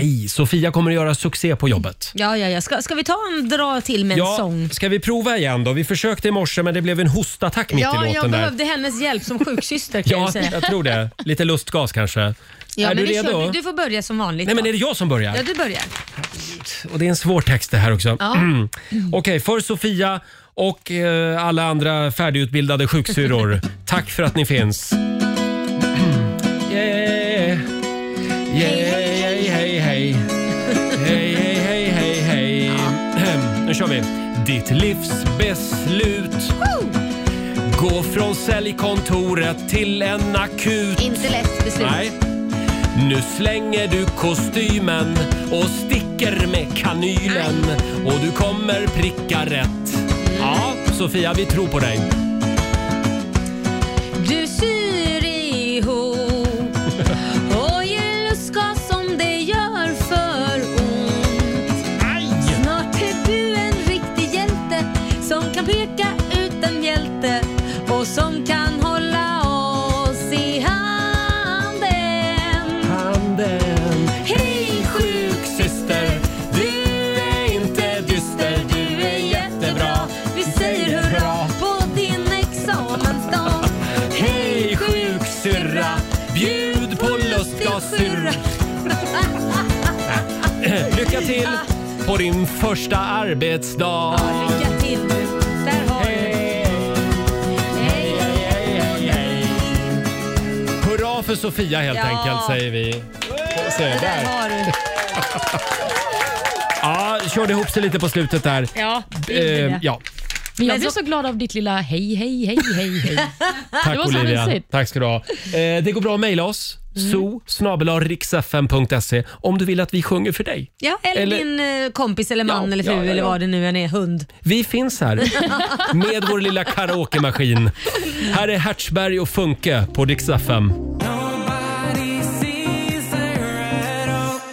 Nej, Sofia kommer att göra succé på jobbet.
Ja, ja, ja. Ska, ska vi ta en dra till med en
Ja,
sång?
ska vi prova igen då? Vi försökte i morse men det blev en hostattack mitt
Ja,
i
jag
låten där.
behövde hennes hjälp som sjuksyster kan
Ja,
jag säga.
jag tror det. Lite lustgas kanske.
Ja,
är
men
du
vi
redo?
Kör, du får börja som vanligt.
Nej, men
då.
är det jag som börjar?
Ja, du börjar.
Och det är en svår text det här också.
Ja.
Okej, för Sofia och eh, alla andra färdigutbildade sjuksyrror. Tack för att ni finns. Yeah. Hej, hej, hej, hej, hej. Hej, hej, hej, hej, hej. Ahem. Nu kör vi. Ditt livsbeslut. Gå från säljkontoret till en akut.
Inte lätt beslut.
Nej. Nu slänger du kostymen och sticker med kanylen och du kommer pricka rätt. Ja, Sofia, vi tror på dig.
Du syr ihop och ger lustgas som det gör för ont. Snart är du en riktig hjälte som kan peka ut en hjälte och som kan hålla oss i handen.
Handen.
Hej
sjuksyster, du är inte dyster, du är jättebra.
Vi säger hurra på din examensdag.
Hej sjuksyrra, bjud på lustgassyrra. Äh, Lycka till på din första arbetsdag.
Lycka till nu. Där har du.
Hurra för Sofia helt
Ja.
enkelt säger vi. Se, där.
har du.
Ja, körde ihop sig lite på slutet där.
Ja,
Eh, ja.
Men jag blev så glad av ditt lilla hej, hej, hej, hej, hej.
Tack
det var
Olivia.
så mysigt.
Tack ska du ha. Eh, det går bra att mejla oss. Mm. so e, om du vill att vi sjunger för dig.
Ja, eller,
Eller-
din eh, kompis eller man
Ja,
eller fru
ja, ja,
eller
ja.
vad det nu än är. Hund.
Vi finns här med vår lilla karaokemaskin. Här är Hertzberg och Funke på Dix FM.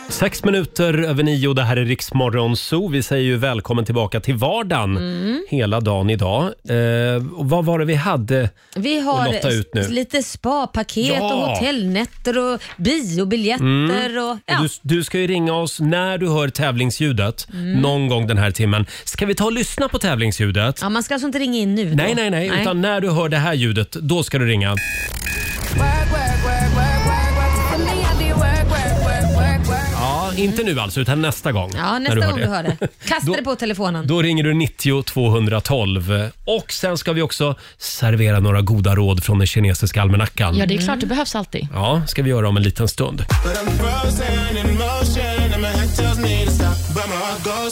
Sex minuter över nio, det här är Riksmorgon Zoo. Vi säger ju välkommen tillbaka till vardagen
Mm.
hela dagen idag. Eh, och vad var det vi hade?
Vi
Och lotta
har
ut nu.
lite spapaket
Ja.
och hotellnätter och biobiljetter.
Mm.
Och, ja.
Du, du ska ju ringa oss när du hör tävlingsljudet
Mm.
någon gång den här timmen. Ska vi ta och lyssna på tävlingsljudet?
ja, man ska alltså inte ringa in nu då?
Nej, nej, nej, Utan när du hör det här ljudet, då ska du ringa. Ja, inte nu alltså, utan nästa gång.
Ja, nästa
när du
gång du hör det. Kasta
Då-
det på telefonen.
Då ringer du 90 212. Och sen ska vi också servera några goda råd från den kinesiska almanackan.
Ja, det är klart, det behövs alltid.
Ja, ska vi göra om en liten stund.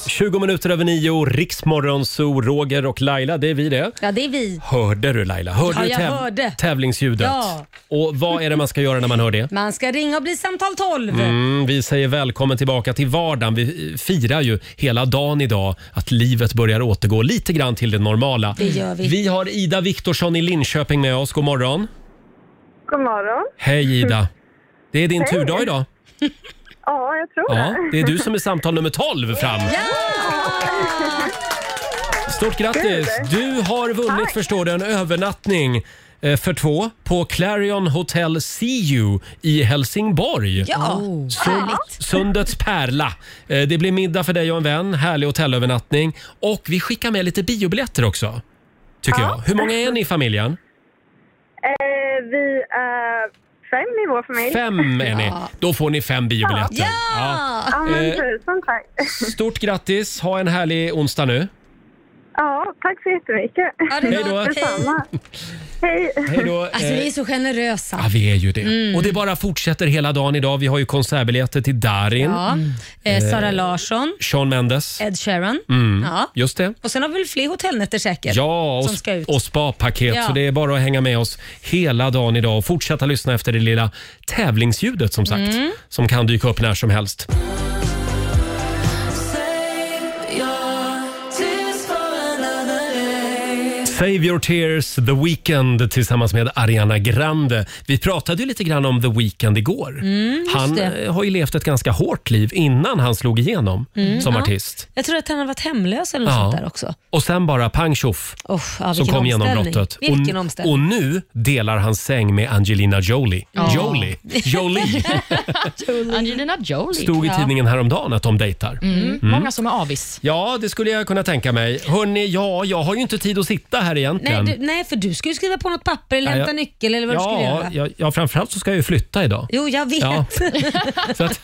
20 minuter över nio, Riksmorgon, Zoo, Roger och Laila, det är vi det.
Ja, det är vi.
Hörde du Laila? Hörde
Ja,
du
jag hörde.
tävlingsljudet?
Ja.
Och vad är det man ska göra när man hör det?
Man ska ringa och bli samtal 12.
Mm, vi säger välkommen tillbaka till vardagen. Vi firar ju hela dagen idag att livet börjar återgå lite grann till det normala.
Det gör vi.
vi har Ida Viktorsson i Linköping med oss. God morgon.
God morgon.
Hej Ida. Det är din
Hej.
turdag idag.
Ja, jag tror
Ja,
det.
det är du som är samtal nummer 12 fram. Stort grattis! Du har vunnit förstår du, en övernattning eh, för två på Clarion Hotel CU i Helsingborg.
Ja, Oh.
Sund-
härligt.
Sundets pärla. Eh, Det blir middag för dig och en vän, härlig hotellövernattning och vi skickar med lite biobiljetter också. Tycker jag. Hur många är ni i familjen?
Eh, vi är fem i vår familj.
Fem är ni. Då får ni fem biobiljetter.
Ja!
Ja.
Ja, men
Eh,
tusen tack.
Stort grattis, ha en härlig onsdag nu.
Ja, tack så jättemycket.
Ja, det är Hej då. bra.
Detsamma. Hej.
Hej då.
Alltså, vi Mm. är så generösa.
Ja, vi är ju det. Och det bara fortsätter hela dagen idag. Vi har ju konsertbiljetter till Darin,
Ja. Eh, Sara Larsson,
Sean Mendes.
Ed Sheeran.
Mm.
Ja.
Just det.
Och sen har vi väl fler hotellnätter säkert?
Ja, och,
som ska ut.
och spa-paket.
Ja.
Så det är bara att hänga med oss hela dagen idag och fortsätta lyssna efter det lilla tävlingsljudet som sagt.
Mm.
Som kan dyka upp när som helst. Save your tears, The Weeknd tillsammans med Ariana Grande. Vi pratade ju lite grann om The Weeknd igår.
Mm, just
han
det.
eh, har ju levt ett ganska hårt liv innan han slog igenom
Mm,
som
ja.
artist.
Jag tror att han har varit hemlös eller något
Ja.
sånt där också.
Och sen bara pang tjoff
Oh, ja,
så
vilken
kom
omställning.
genombrottet.
Vilken
Och,
omställning.
och nu delar han säng med Angelina Jolie.
Ja.
Jolie. Jolie.
Angelina Jolie.
Stod i
Ja.
tidningen häromdagen att de dejtar.
Mm.
Mm.
Många som är avis.
Ja, det skulle jag kunna tänka mig. Hörni, ja, jag har ju inte tid att sitta här
Nej,
egentligen.
du, nej, för du skulle skriva på något papper eller
Ja,
hämta
jag-
nyckel eller vad du skulle
ja,
göra.
ja, ja, framförallt så ska jag ju flytta idag.
Jo, jag vet.
Ja. Så att,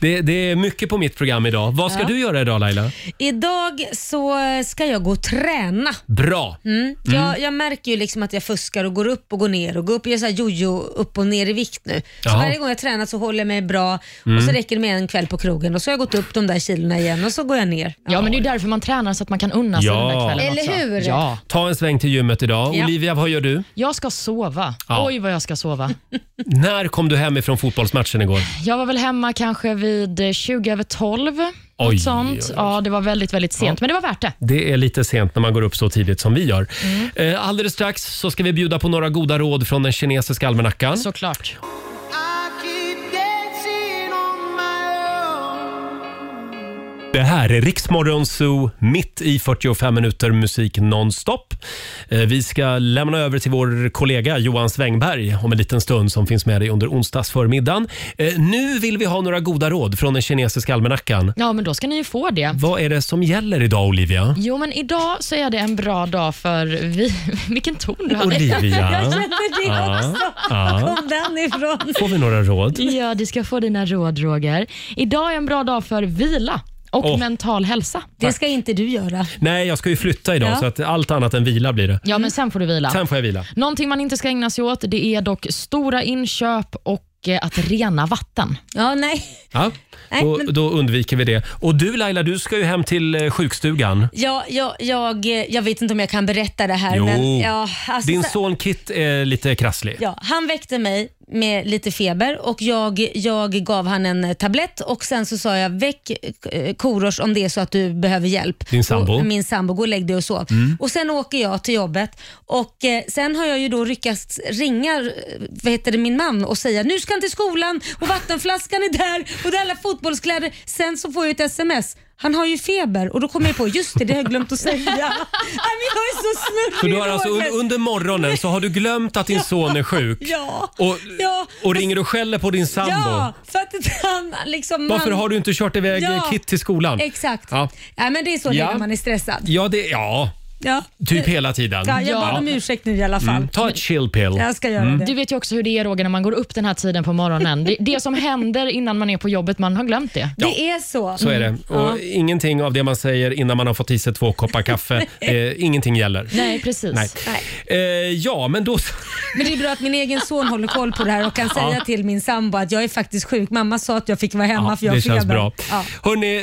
det, det är mycket på mitt program idag. Vad ska
Ja.
du göra idag Laila?
Idag så ska jag gå och träna.
Bra!
Mm.
Mm.
Jag, jag märker ju liksom att jag fuskar och går upp och går ner och går upp och gör så här jojo upp och ner i vikt nu. Så
Ja.
varje gång jag tränar så håller jag mig bra och
Mm.
så räcker det med en kväll på krogen och så har jag gått upp de där kilorna igen och så går jag ner.
Ja, men det är ju därför man tränar så att man kan unna sig den där kvällen också.
alltså,
Ja.
Ta en sväng till gymmet idag.
Ja.
Olivia, vad gör du?
Jag ska sova.
Ja.
Oj, vad jag ska sova.
När kom du hem ifrån fotbollsmatchen igår?
Jag var väl hemma kanske vid eh, 20 över 12.
Oj,
något sånt.
oj, oj.
Ja, det var väldigt, väldigt sent, men det var värt det.
Det är lite sent när man går upp så tidigt som vi gör.
Mm.
Eh, Alldeles strax så ska vi bjuda på några goda råd från den kinesiska almanackan.
Såklart.
Det här är Riksmorgon Zoo, mitt i 45 minuter musik nonstop. Eh, Vi ska lämna över till vår kollega Johan Svängberg om en liten stund som finns med dig under onsdagsförmiddagen. Eh, Nu vill vi ha några goda råd från den kinesiska almanackan.
Ja, men då ska ni ju få det.
Vad är det som gäller idag Olivia?
Jo, men idag så är det en bra dag för vi... Vilken ton du hade.
Olivia.
Jag känner det
Ja,
också.
ja.
Var kom den ifrån?
Får vi några råd?
Ja, du ska få dina råd, Roger. Idag är en bra dag för vila och
Åh.
mental hälsa.
Det
ska inte du göra.
Nej, jag ska ju flytta idag
Ja.
så att allt annat än vila blir det.
Ja, men sen får du vila.
Sen får jag vila.
Någonting man inte ska ägna sig åt det är dock stora inköp och eh, att rena vatten.
Ja, nej.
Ja,
Nej,
då,
men-
då undviker vi det. Och du Laila, du ska ju hem till eh, sjukstugan.
Ja, jag, jag, jag vet inte om jag kan berätta det här.
Jo,
Men, ja, alltså,
Din
så-
son Kit är lite krasslig.
Ja, han väckte mig med lite feber och jag, jag gav han en tablett och sen så sa jag väck eh, Korosh om det är så att du behöver hjälp.
Din sambo.
Och min sambo, gå och lägg dig och sov.
Mm.
Och sen åker jag till jobbet och eh, sen har jag ju då lyckats ringa eh, vad heter det, min man och säga nu ska han till skolan och vattenflaskan är där och det är alla fotbollskläder. Sen så får jag ett sms. Han har ju feber och då kommer jag på, just det, det har jag glömt att säga. Nej, men jag är så snurrig
Så du har
i
alltså un-
håret.
under morgonen så har du glömt att din son är sjuk
Ja,
och,
ja.
och ringer och skäller på din sambo.
Ja, för att inte han liksom...
Varför
han...
har du inte kört iväg eh,
Ja,
Kit till skolan?
Exakt.
Ja,
Nej, men det är så det
Ja.
är när man är stressad.
ja, det, ja.
Ja.
typ hela tiden.
Eh, Ja, jag bad om ursäkt nu i alla fall.
Mm. Ta ett chill pill. Mm.
Du vet ju också hur det är Roger när man går upp den här tiden på morgonen. Det, det som händer innan man är på jobbet, man har glömt det.
Det är så.
Så är det. Och
Ja.
Ingenting av det man säger innan man har fått i sig två koppar kaffe, eh, ingenting gäller.
Nej, precis.
Nej. Eh, ja, men då...
Men det är bra att min egen son håller koll på det här och kan
Ja.
säga till min sambo att jag är faktiskt sjuk. Mamma sa att jag fick vara hemma
Ja,
för jag har
det
feber.
känns bra.
Ja.
Hörni,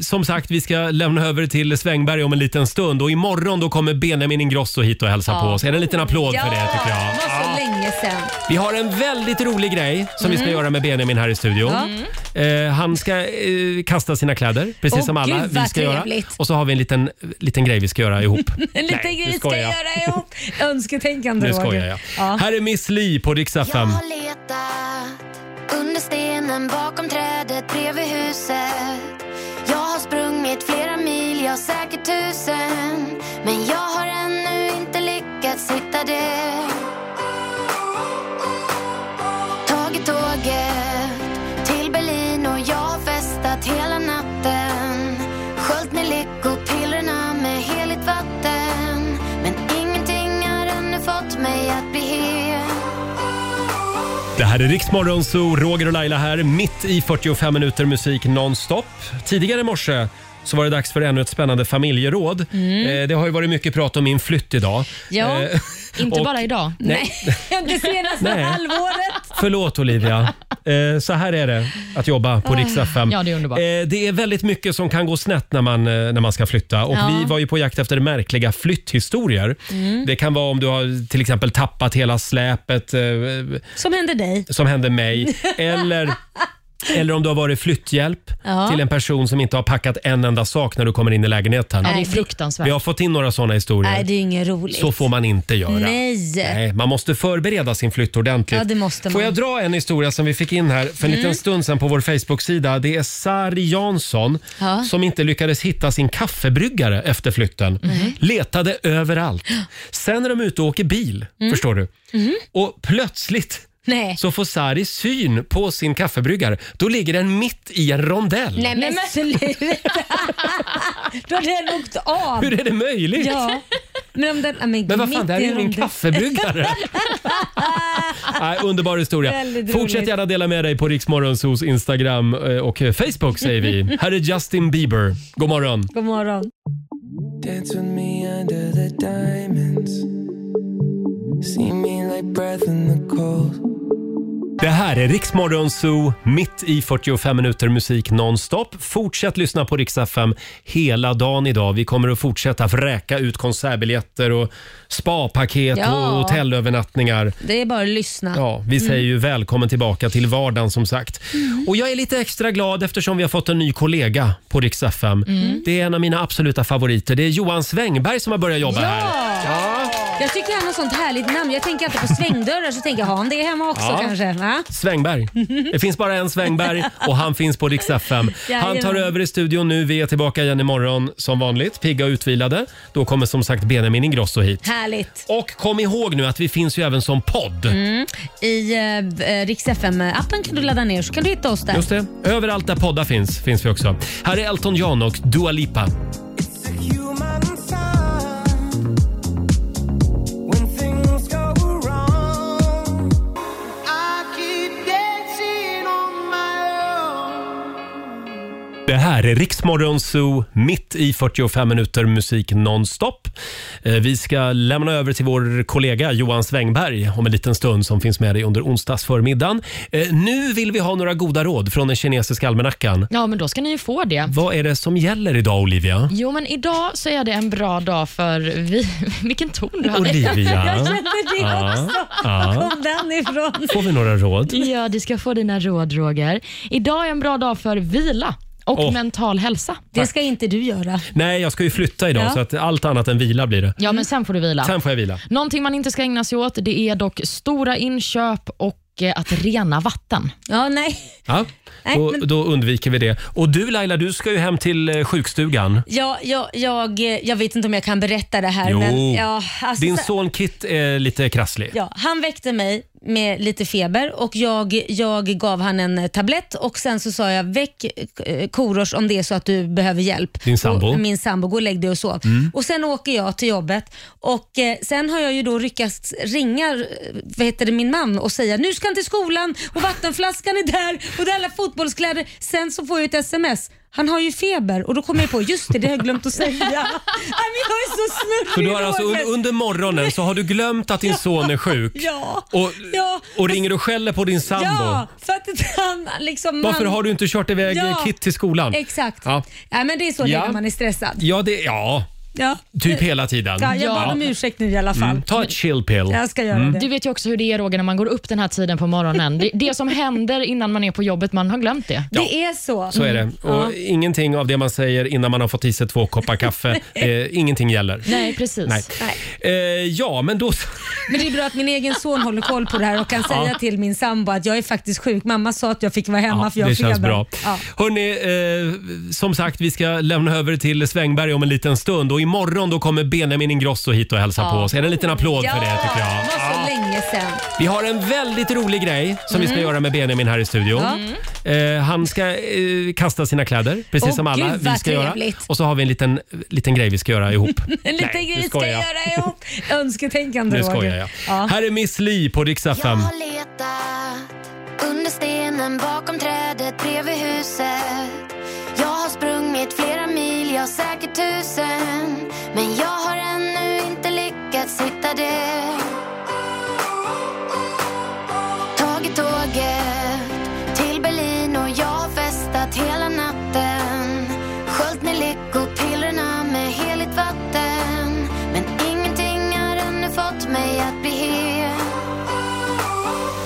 eh, som sagt, vi ska lämna över till Svängberg om en liten stund och imorgon då kommer Benjamin Ingrosso hit och hälsa
Ja.
på oss. Är det en liten applåd
Ja,
för det tycker jag?
Det var så länge sedan.
Vi har en väldigt rolig grej som vi ska
Mm.
göra med Benjamin här i studion. Eh, han ska eh, kasta sina kläder, precis
Åh,
som alla
gud,
vi
vad
ska göra.
trevligt.
Och så har vi en liten, liten grej vi ska göra ihop.
En liten
Nej,
grej
nu
vi ska
skojar jag.
göra ihop. Önsketänkande
Nu
Roger.
skojar jag.
Ja.
Här är Miss Li på Rix
Jag
FM.
har letat under stenen bakom trädet bredvid huset. Jag har sprungit flera mil, jag säkert tusen. Men jag har ännu inte lyckats hitta det. Tagit tåget till Berlin och jag har festat hela natten. Sköljt med lyckopillerna med heligt vatten. Men ingenting har ännu fått mig att bli hel.
Det här är Riksmorgon Zoo, Roger och Laila här, mitt i 45 minuter musik nonstop. Tidigare i morse så var det dags för ännu ett spännande familjeråd.
Mm.
Eh, det har ju varit mycket prat om min flytt idag.
Ja,
Eh,
inte
och-
bara idag.
Nej.
Det senaste
Nej.
halvåret.
Förlåt Olivia. Eh, så här är det att jobba på
Ah.
Rix FM.
Ja, det är underbart.
Eh, det är väldigt mycket som kan gå snett när man, eh, när man ska flytta. Och
Ja.
Vi var ju på jakt efter märkliga flytthistorier.
Mm.
Det kan vara om du har till exempel tappat hela släpet eh,
Som hände dig.
som hände mig. Eller, eller om du har varit flytthjälp
Ja.
till en person som inte har packat en enda sak när du kommer in i lägenheten.
Ja, det är fruktansvärt.
Vi har fått in några sådana historier.
Nej, det är inget roligt.
Så får man inte göra.
Nej.
Nej, man måste förbereda sin flytt ordentligt.
Ja, det måste man.
Får jag dra en historia som vi fick in här för en
Mm.
liten stund sedan på vår Facebook-sida. Det är Sari Jansson
Ja.
som inte lyckades hitta sin kaffebryggare efter flytten.
Mhm.
Letade överallt. Sen är de ute och åker bil,
Mm.
förstår du.
Mhm.
Och plötsligt
Nej.
så får Sari syn på sin kaffebryggare. Då ligger den mitt i en rondell.
Nej men sluta! Då hade den åkt av.
Hur är det möjligt?
Ja. Men, om den, nej, men,
Men vad fan,
mitt
det här
i
är ju min
ronden.
kaffebryggare. Nej, underbar historia.
Väldigt
Fortsätt
roligt.
gärna dela med dig på Riksmorgonsos Instagram eh, och Facebook säger vi. Här är Justin Bieber. God morgon.
God morgon.
Dance with me under the diamonds. See me like breath in the cold.
Det här är Riksmorgonso mitt i 45 minuter musik nonstop. Fortsätt lyssna på Rix FM hela dagen idag. Vi kommer att fortsätta vräka ut konsertbiljetter och spapaket
Ja.
och hotellövernattningar.
Det är bara att lyssna.
Ja, vi säger
Mm.
ju välkommen tillbaka till vardagen som sagt.
Mm.
Och jag är lite extra glad eftersom vi har fått en ny kollega på Rix FM.
Mm.
Det är en av mina absoluta favoriter. Det är Johan Svängberg som har börjat jobba här.
Ja. Jag tycker han har sånt härligt namn. Jag tänker alltid på svängdörrar så tänker jag, har han det hemma också
Ja.
kanske? Va?
Svängberg. Det finns bara en Svängberg och han finns på Rix FM. Han tar
Jajamän.
över i studion nu. Vi är tillbaka igen imorgon som vanligt, pigga och utvilade. Då kommer som sagt Benjamin Ingrosso hit.
Härligt.
Och kom ihåg nu att vi finns ju även som podd.
Mm. I eh, Rix FM-appen kan du ladda ner så kan du hitta oss där.
Just det. Överallt där poddar finns, finns vi också. Här är Elton John och Dua Lipa.
Human time. When things go wrong, I keep dancing on my own.
Det här är Riksmorgon Zoo, mitt i 45 minuter musik nonstop. Eh, Vi ska lämna över till vår kollega Johan Svängberg om en liten stund som finns med dig under onsdagsförmiddagen. Eh, Nu vill vi ha några goda råd från den kinesiska almanackan.
Ja, men då ska ni ju få det.
Vad är det som gäller idag Olivia?
Jo, men idag så är det en bra dag för... Vi... Vilken ton du hade.
Olivia.
Jag kände det
Ja,
också.
ja.
Var kom den ifrån?
Får vi några råd?
Ja, du ska få dina råd, Roger. Idag är en bra dag för vila och
Åh.
mental hälsa.
Det
ska inte du göra.
Nej, jag ska ju flytta idag
Ja.
så att allt annat än vila blir det.
Ja, men sen får du vila.
Sen får jag vila.
Någonting man inte ska ägna sig åt det är dock stora inköp och eh, att rena vatten. Ja, nej.
Ja,
Nej,
då,
men-
då undviker vi det. Och du Laila, du ska ju hem till eh, sjukstugan.
Ja, jag, jag, jag vet inte om jag kan berätta det här.
Jo.
Men, ja, alltså,
Din
så-
son Kit är lite krasslig.
Ja, han väckte mig med lite feber och jag, jag gav han en tablett och sen så sa jag väck eh, Korosh om det är så att du behöver hjälp.
Din sambo.
Och min sambo, gå och lägg dig och sov.
Mm.
Och sen åker jag till jobbet och eh, sen har jag ju då lyckats ringa eh, vad heter det, min man och säga nu ska han till skolan och vattenflaskan är där och det är alla fotbollskläder. Sen så får jag ett sms. Han har ju feber och då kommer jag på, just det, det har jag glömt att säga. Nej, men jag är så snurrig
Så du har alltså
Roger.
un- under morgonen så har du glömt att din son är sjuk
Ja.
och,
ja.
och ringer och skäller på din sambo.
Ja, för att inte han liksom...
Varför
han...
har du inte kört iväg eh,
Ja,
Kit till skolan?
Exakt.
Ja,
Nej, men det är så det
Ja.
är när man är stressad.
ja, det, ja.
Ja.
typ hela tiden.
Ja, jag bad om ursäkt nu i alla fall.
Mm. Ta ett chill pill. Mm.
Du vet ju också hur det är Roger när man går upp den här tiden på morgonen. Det, det som händer innan man är på jobbet, man har glömt det.
Det är så.
Så är det. Och
Ja.
Ingenting av det man säger innan man har fått i sig två koppar kaffe, eh, ingenting gäller.
Nej, precis.
Nej. Eh, ja, men då...
Men det är bra att min egen son håller koll på det här och kan
Ja.
säga till min sambo att jag är faktiskt sjuk. Mamma sa att jag fick vara hemma
Ja,
för jag har
det
feber.
känns bra.
Ja.
Hörni, eh, som sagt, vi ska lämna över till Svängberg om en liten stund och imorgon då kommer Benjamin Ingrosso hit och hälsa
Ja.
på oss. Är det en liten applåd
Ja,
för det tycker jag?
Det var så länge sedan.
Vi har en väldigt rolig grej som vi ska
Mm.
göra med Benjamin här i studion. Eh, han ska eh, kasta sina kläder, precis
Åh,
som alla
gud,
vi
vad
ska göra.
trevligt.
Och så har vi en liten, liten grej vi ska göra ihop.
En liten
Nej,
grej
nu
vi ska
skojar jag.
göra ihop. Önsketänkande
Nu
Roger.
skojar jag.
Ja.
Här är Miss Li på Rix
Jag
FM.
har letat under stenen bakom trädet bredvid huset. Jag har sprungit flera mil, jag säkert tusen. Men jag har ännu inte lyckats hitta det. Tagit tåget till Berlin och jag har festat hela natten. Sköljt ner lyckopillerna med heligt vatten. Men ingenting har ännu fått mig att bli hel.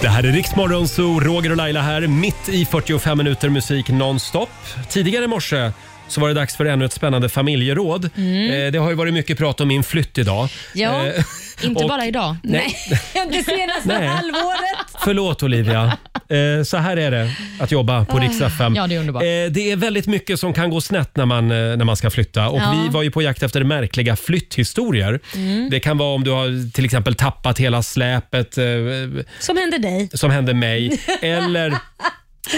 Det här är Riksmorgon Zoo, Roger och Laila här, mitt i 45 minuter musik nonstop. Tidigare i morse så var det dags för ännu ett spännande familjeråd.
Mm.
Eh, det har ju varit mycket prat om min flytt idag.
Ja,
Eh,
inte
och-
bara idag.
Nej.
Det senaste
Nej.
halvåret.
Förlåt Olivia. Eh, så här är det att jobba på
Ah.
Rix FM.
Ja, det är underbart.
Eh, det är väldigt mycket som kan gå snett när man, eh, när man ska flytta. Och
Ja.
Vi var ju på jakt efter märkliga flytthistorier.
Mm.
Det kan vara om du har till exempel tappat hela släpet eh,
Som hände dig.
som hände mig. Eller,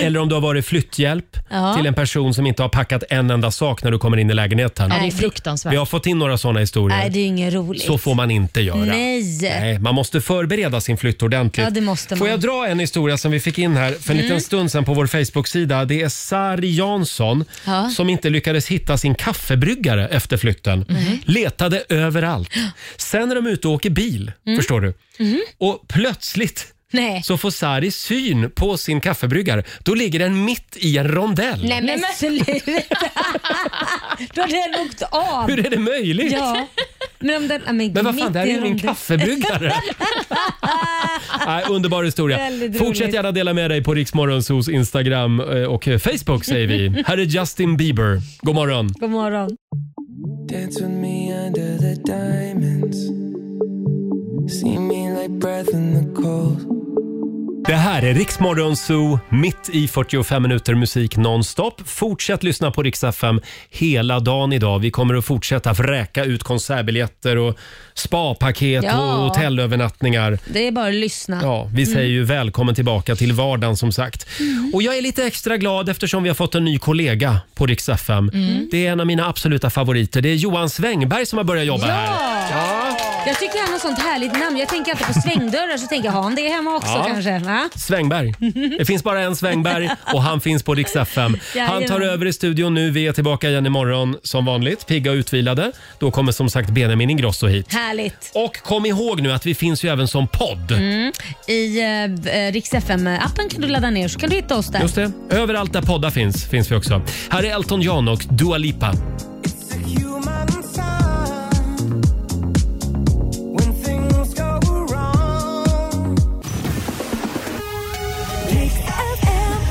eller om du har varit flytthjälp
Ja.
till en person som inte har packat en enda sak när du kommer in i lägenheten.
Ja, det är fruktansvärt.
Vi har fått in några sådana historier.
Nej, det är inget roligt.
Så får man inte göra.
Nej.
Nej, man måste förbereda sin flytt ordentligt.
Ja, det måste man.
Får jag dra en historia som vi fick in här för en
Mm.
liten stund sedan på vår Facebook-sida. Det är Sari Jansson
Ja.
som inte lyckades hitta sin kaffebryggare efter flytten.
Mhm.
Letade överallt. Sen är de ute och åker bil,
Mm.
förstår du.
Mhm.
Och plötsligt
Nej.
så får Sari syn på sin kaffebryggare. Då ligger den mitt i en rondell.
Nej men sluta! Då hade den åkt av.
Hur är det möjligt?
Ja. Men, om den, nej, men,
Men vad fan,
mitt
det här
i
är ju min
ronden.
kaffebryggare. Nej, underbar historia.
Väldigt
Fortsätt
roligt.
gärna dela med dig på Riksmorgonsos Instagram eh, och Facebook säger vi. Här är Justin Bieber. God morgon.
God morgon.
Dance with me under the diamonds. See me like breath in the cold.
Det här är Riksmorgon Zoo, mitt i 45 minuter musik nonstop. Fortsätt lyssna på Rix FM hela dagen idag. Vi kommer att fortsätta vräka ut konsertbiljetter och spapaket
Ja.
och hotellövernattningar.
Det är bara att lyssna.
Ja, vi säger
Mm.
ju välkommen tillbaka till vardagen som sagt.
Mm.
Och jag är lite extra glad eftersom vi har fått en ny kollega på Rix FM.
Mm.
Det är en av mina absoluta favoriter. Det är Johan Svängberg som har börjat jobba här.
Ja! Jag tycker han har sånt härligt namn. Jag tänker alltid på svängdörrar så tänker jag, har han det hemma också
Ja.
kanske? Va?
Svängberg. Det finns bara en Svängberg och han finns på Rix FM. Han tar
Jajamän.
över i studion nu. Vi är tillbaka igen imorgon som vanligt, pigga och utvilade. Då kommer som sagt Benjamin Ingrosso hit.
Härligt.
Och kom ihåg nu att vi finns ju även som podd.
Mm. I eh, Rix FM-appen kan du ladda ner så kan du hitta oss där.
Just det. Överallt där poddar finns, finns vi också. Här är Elton John och Dua Lipa.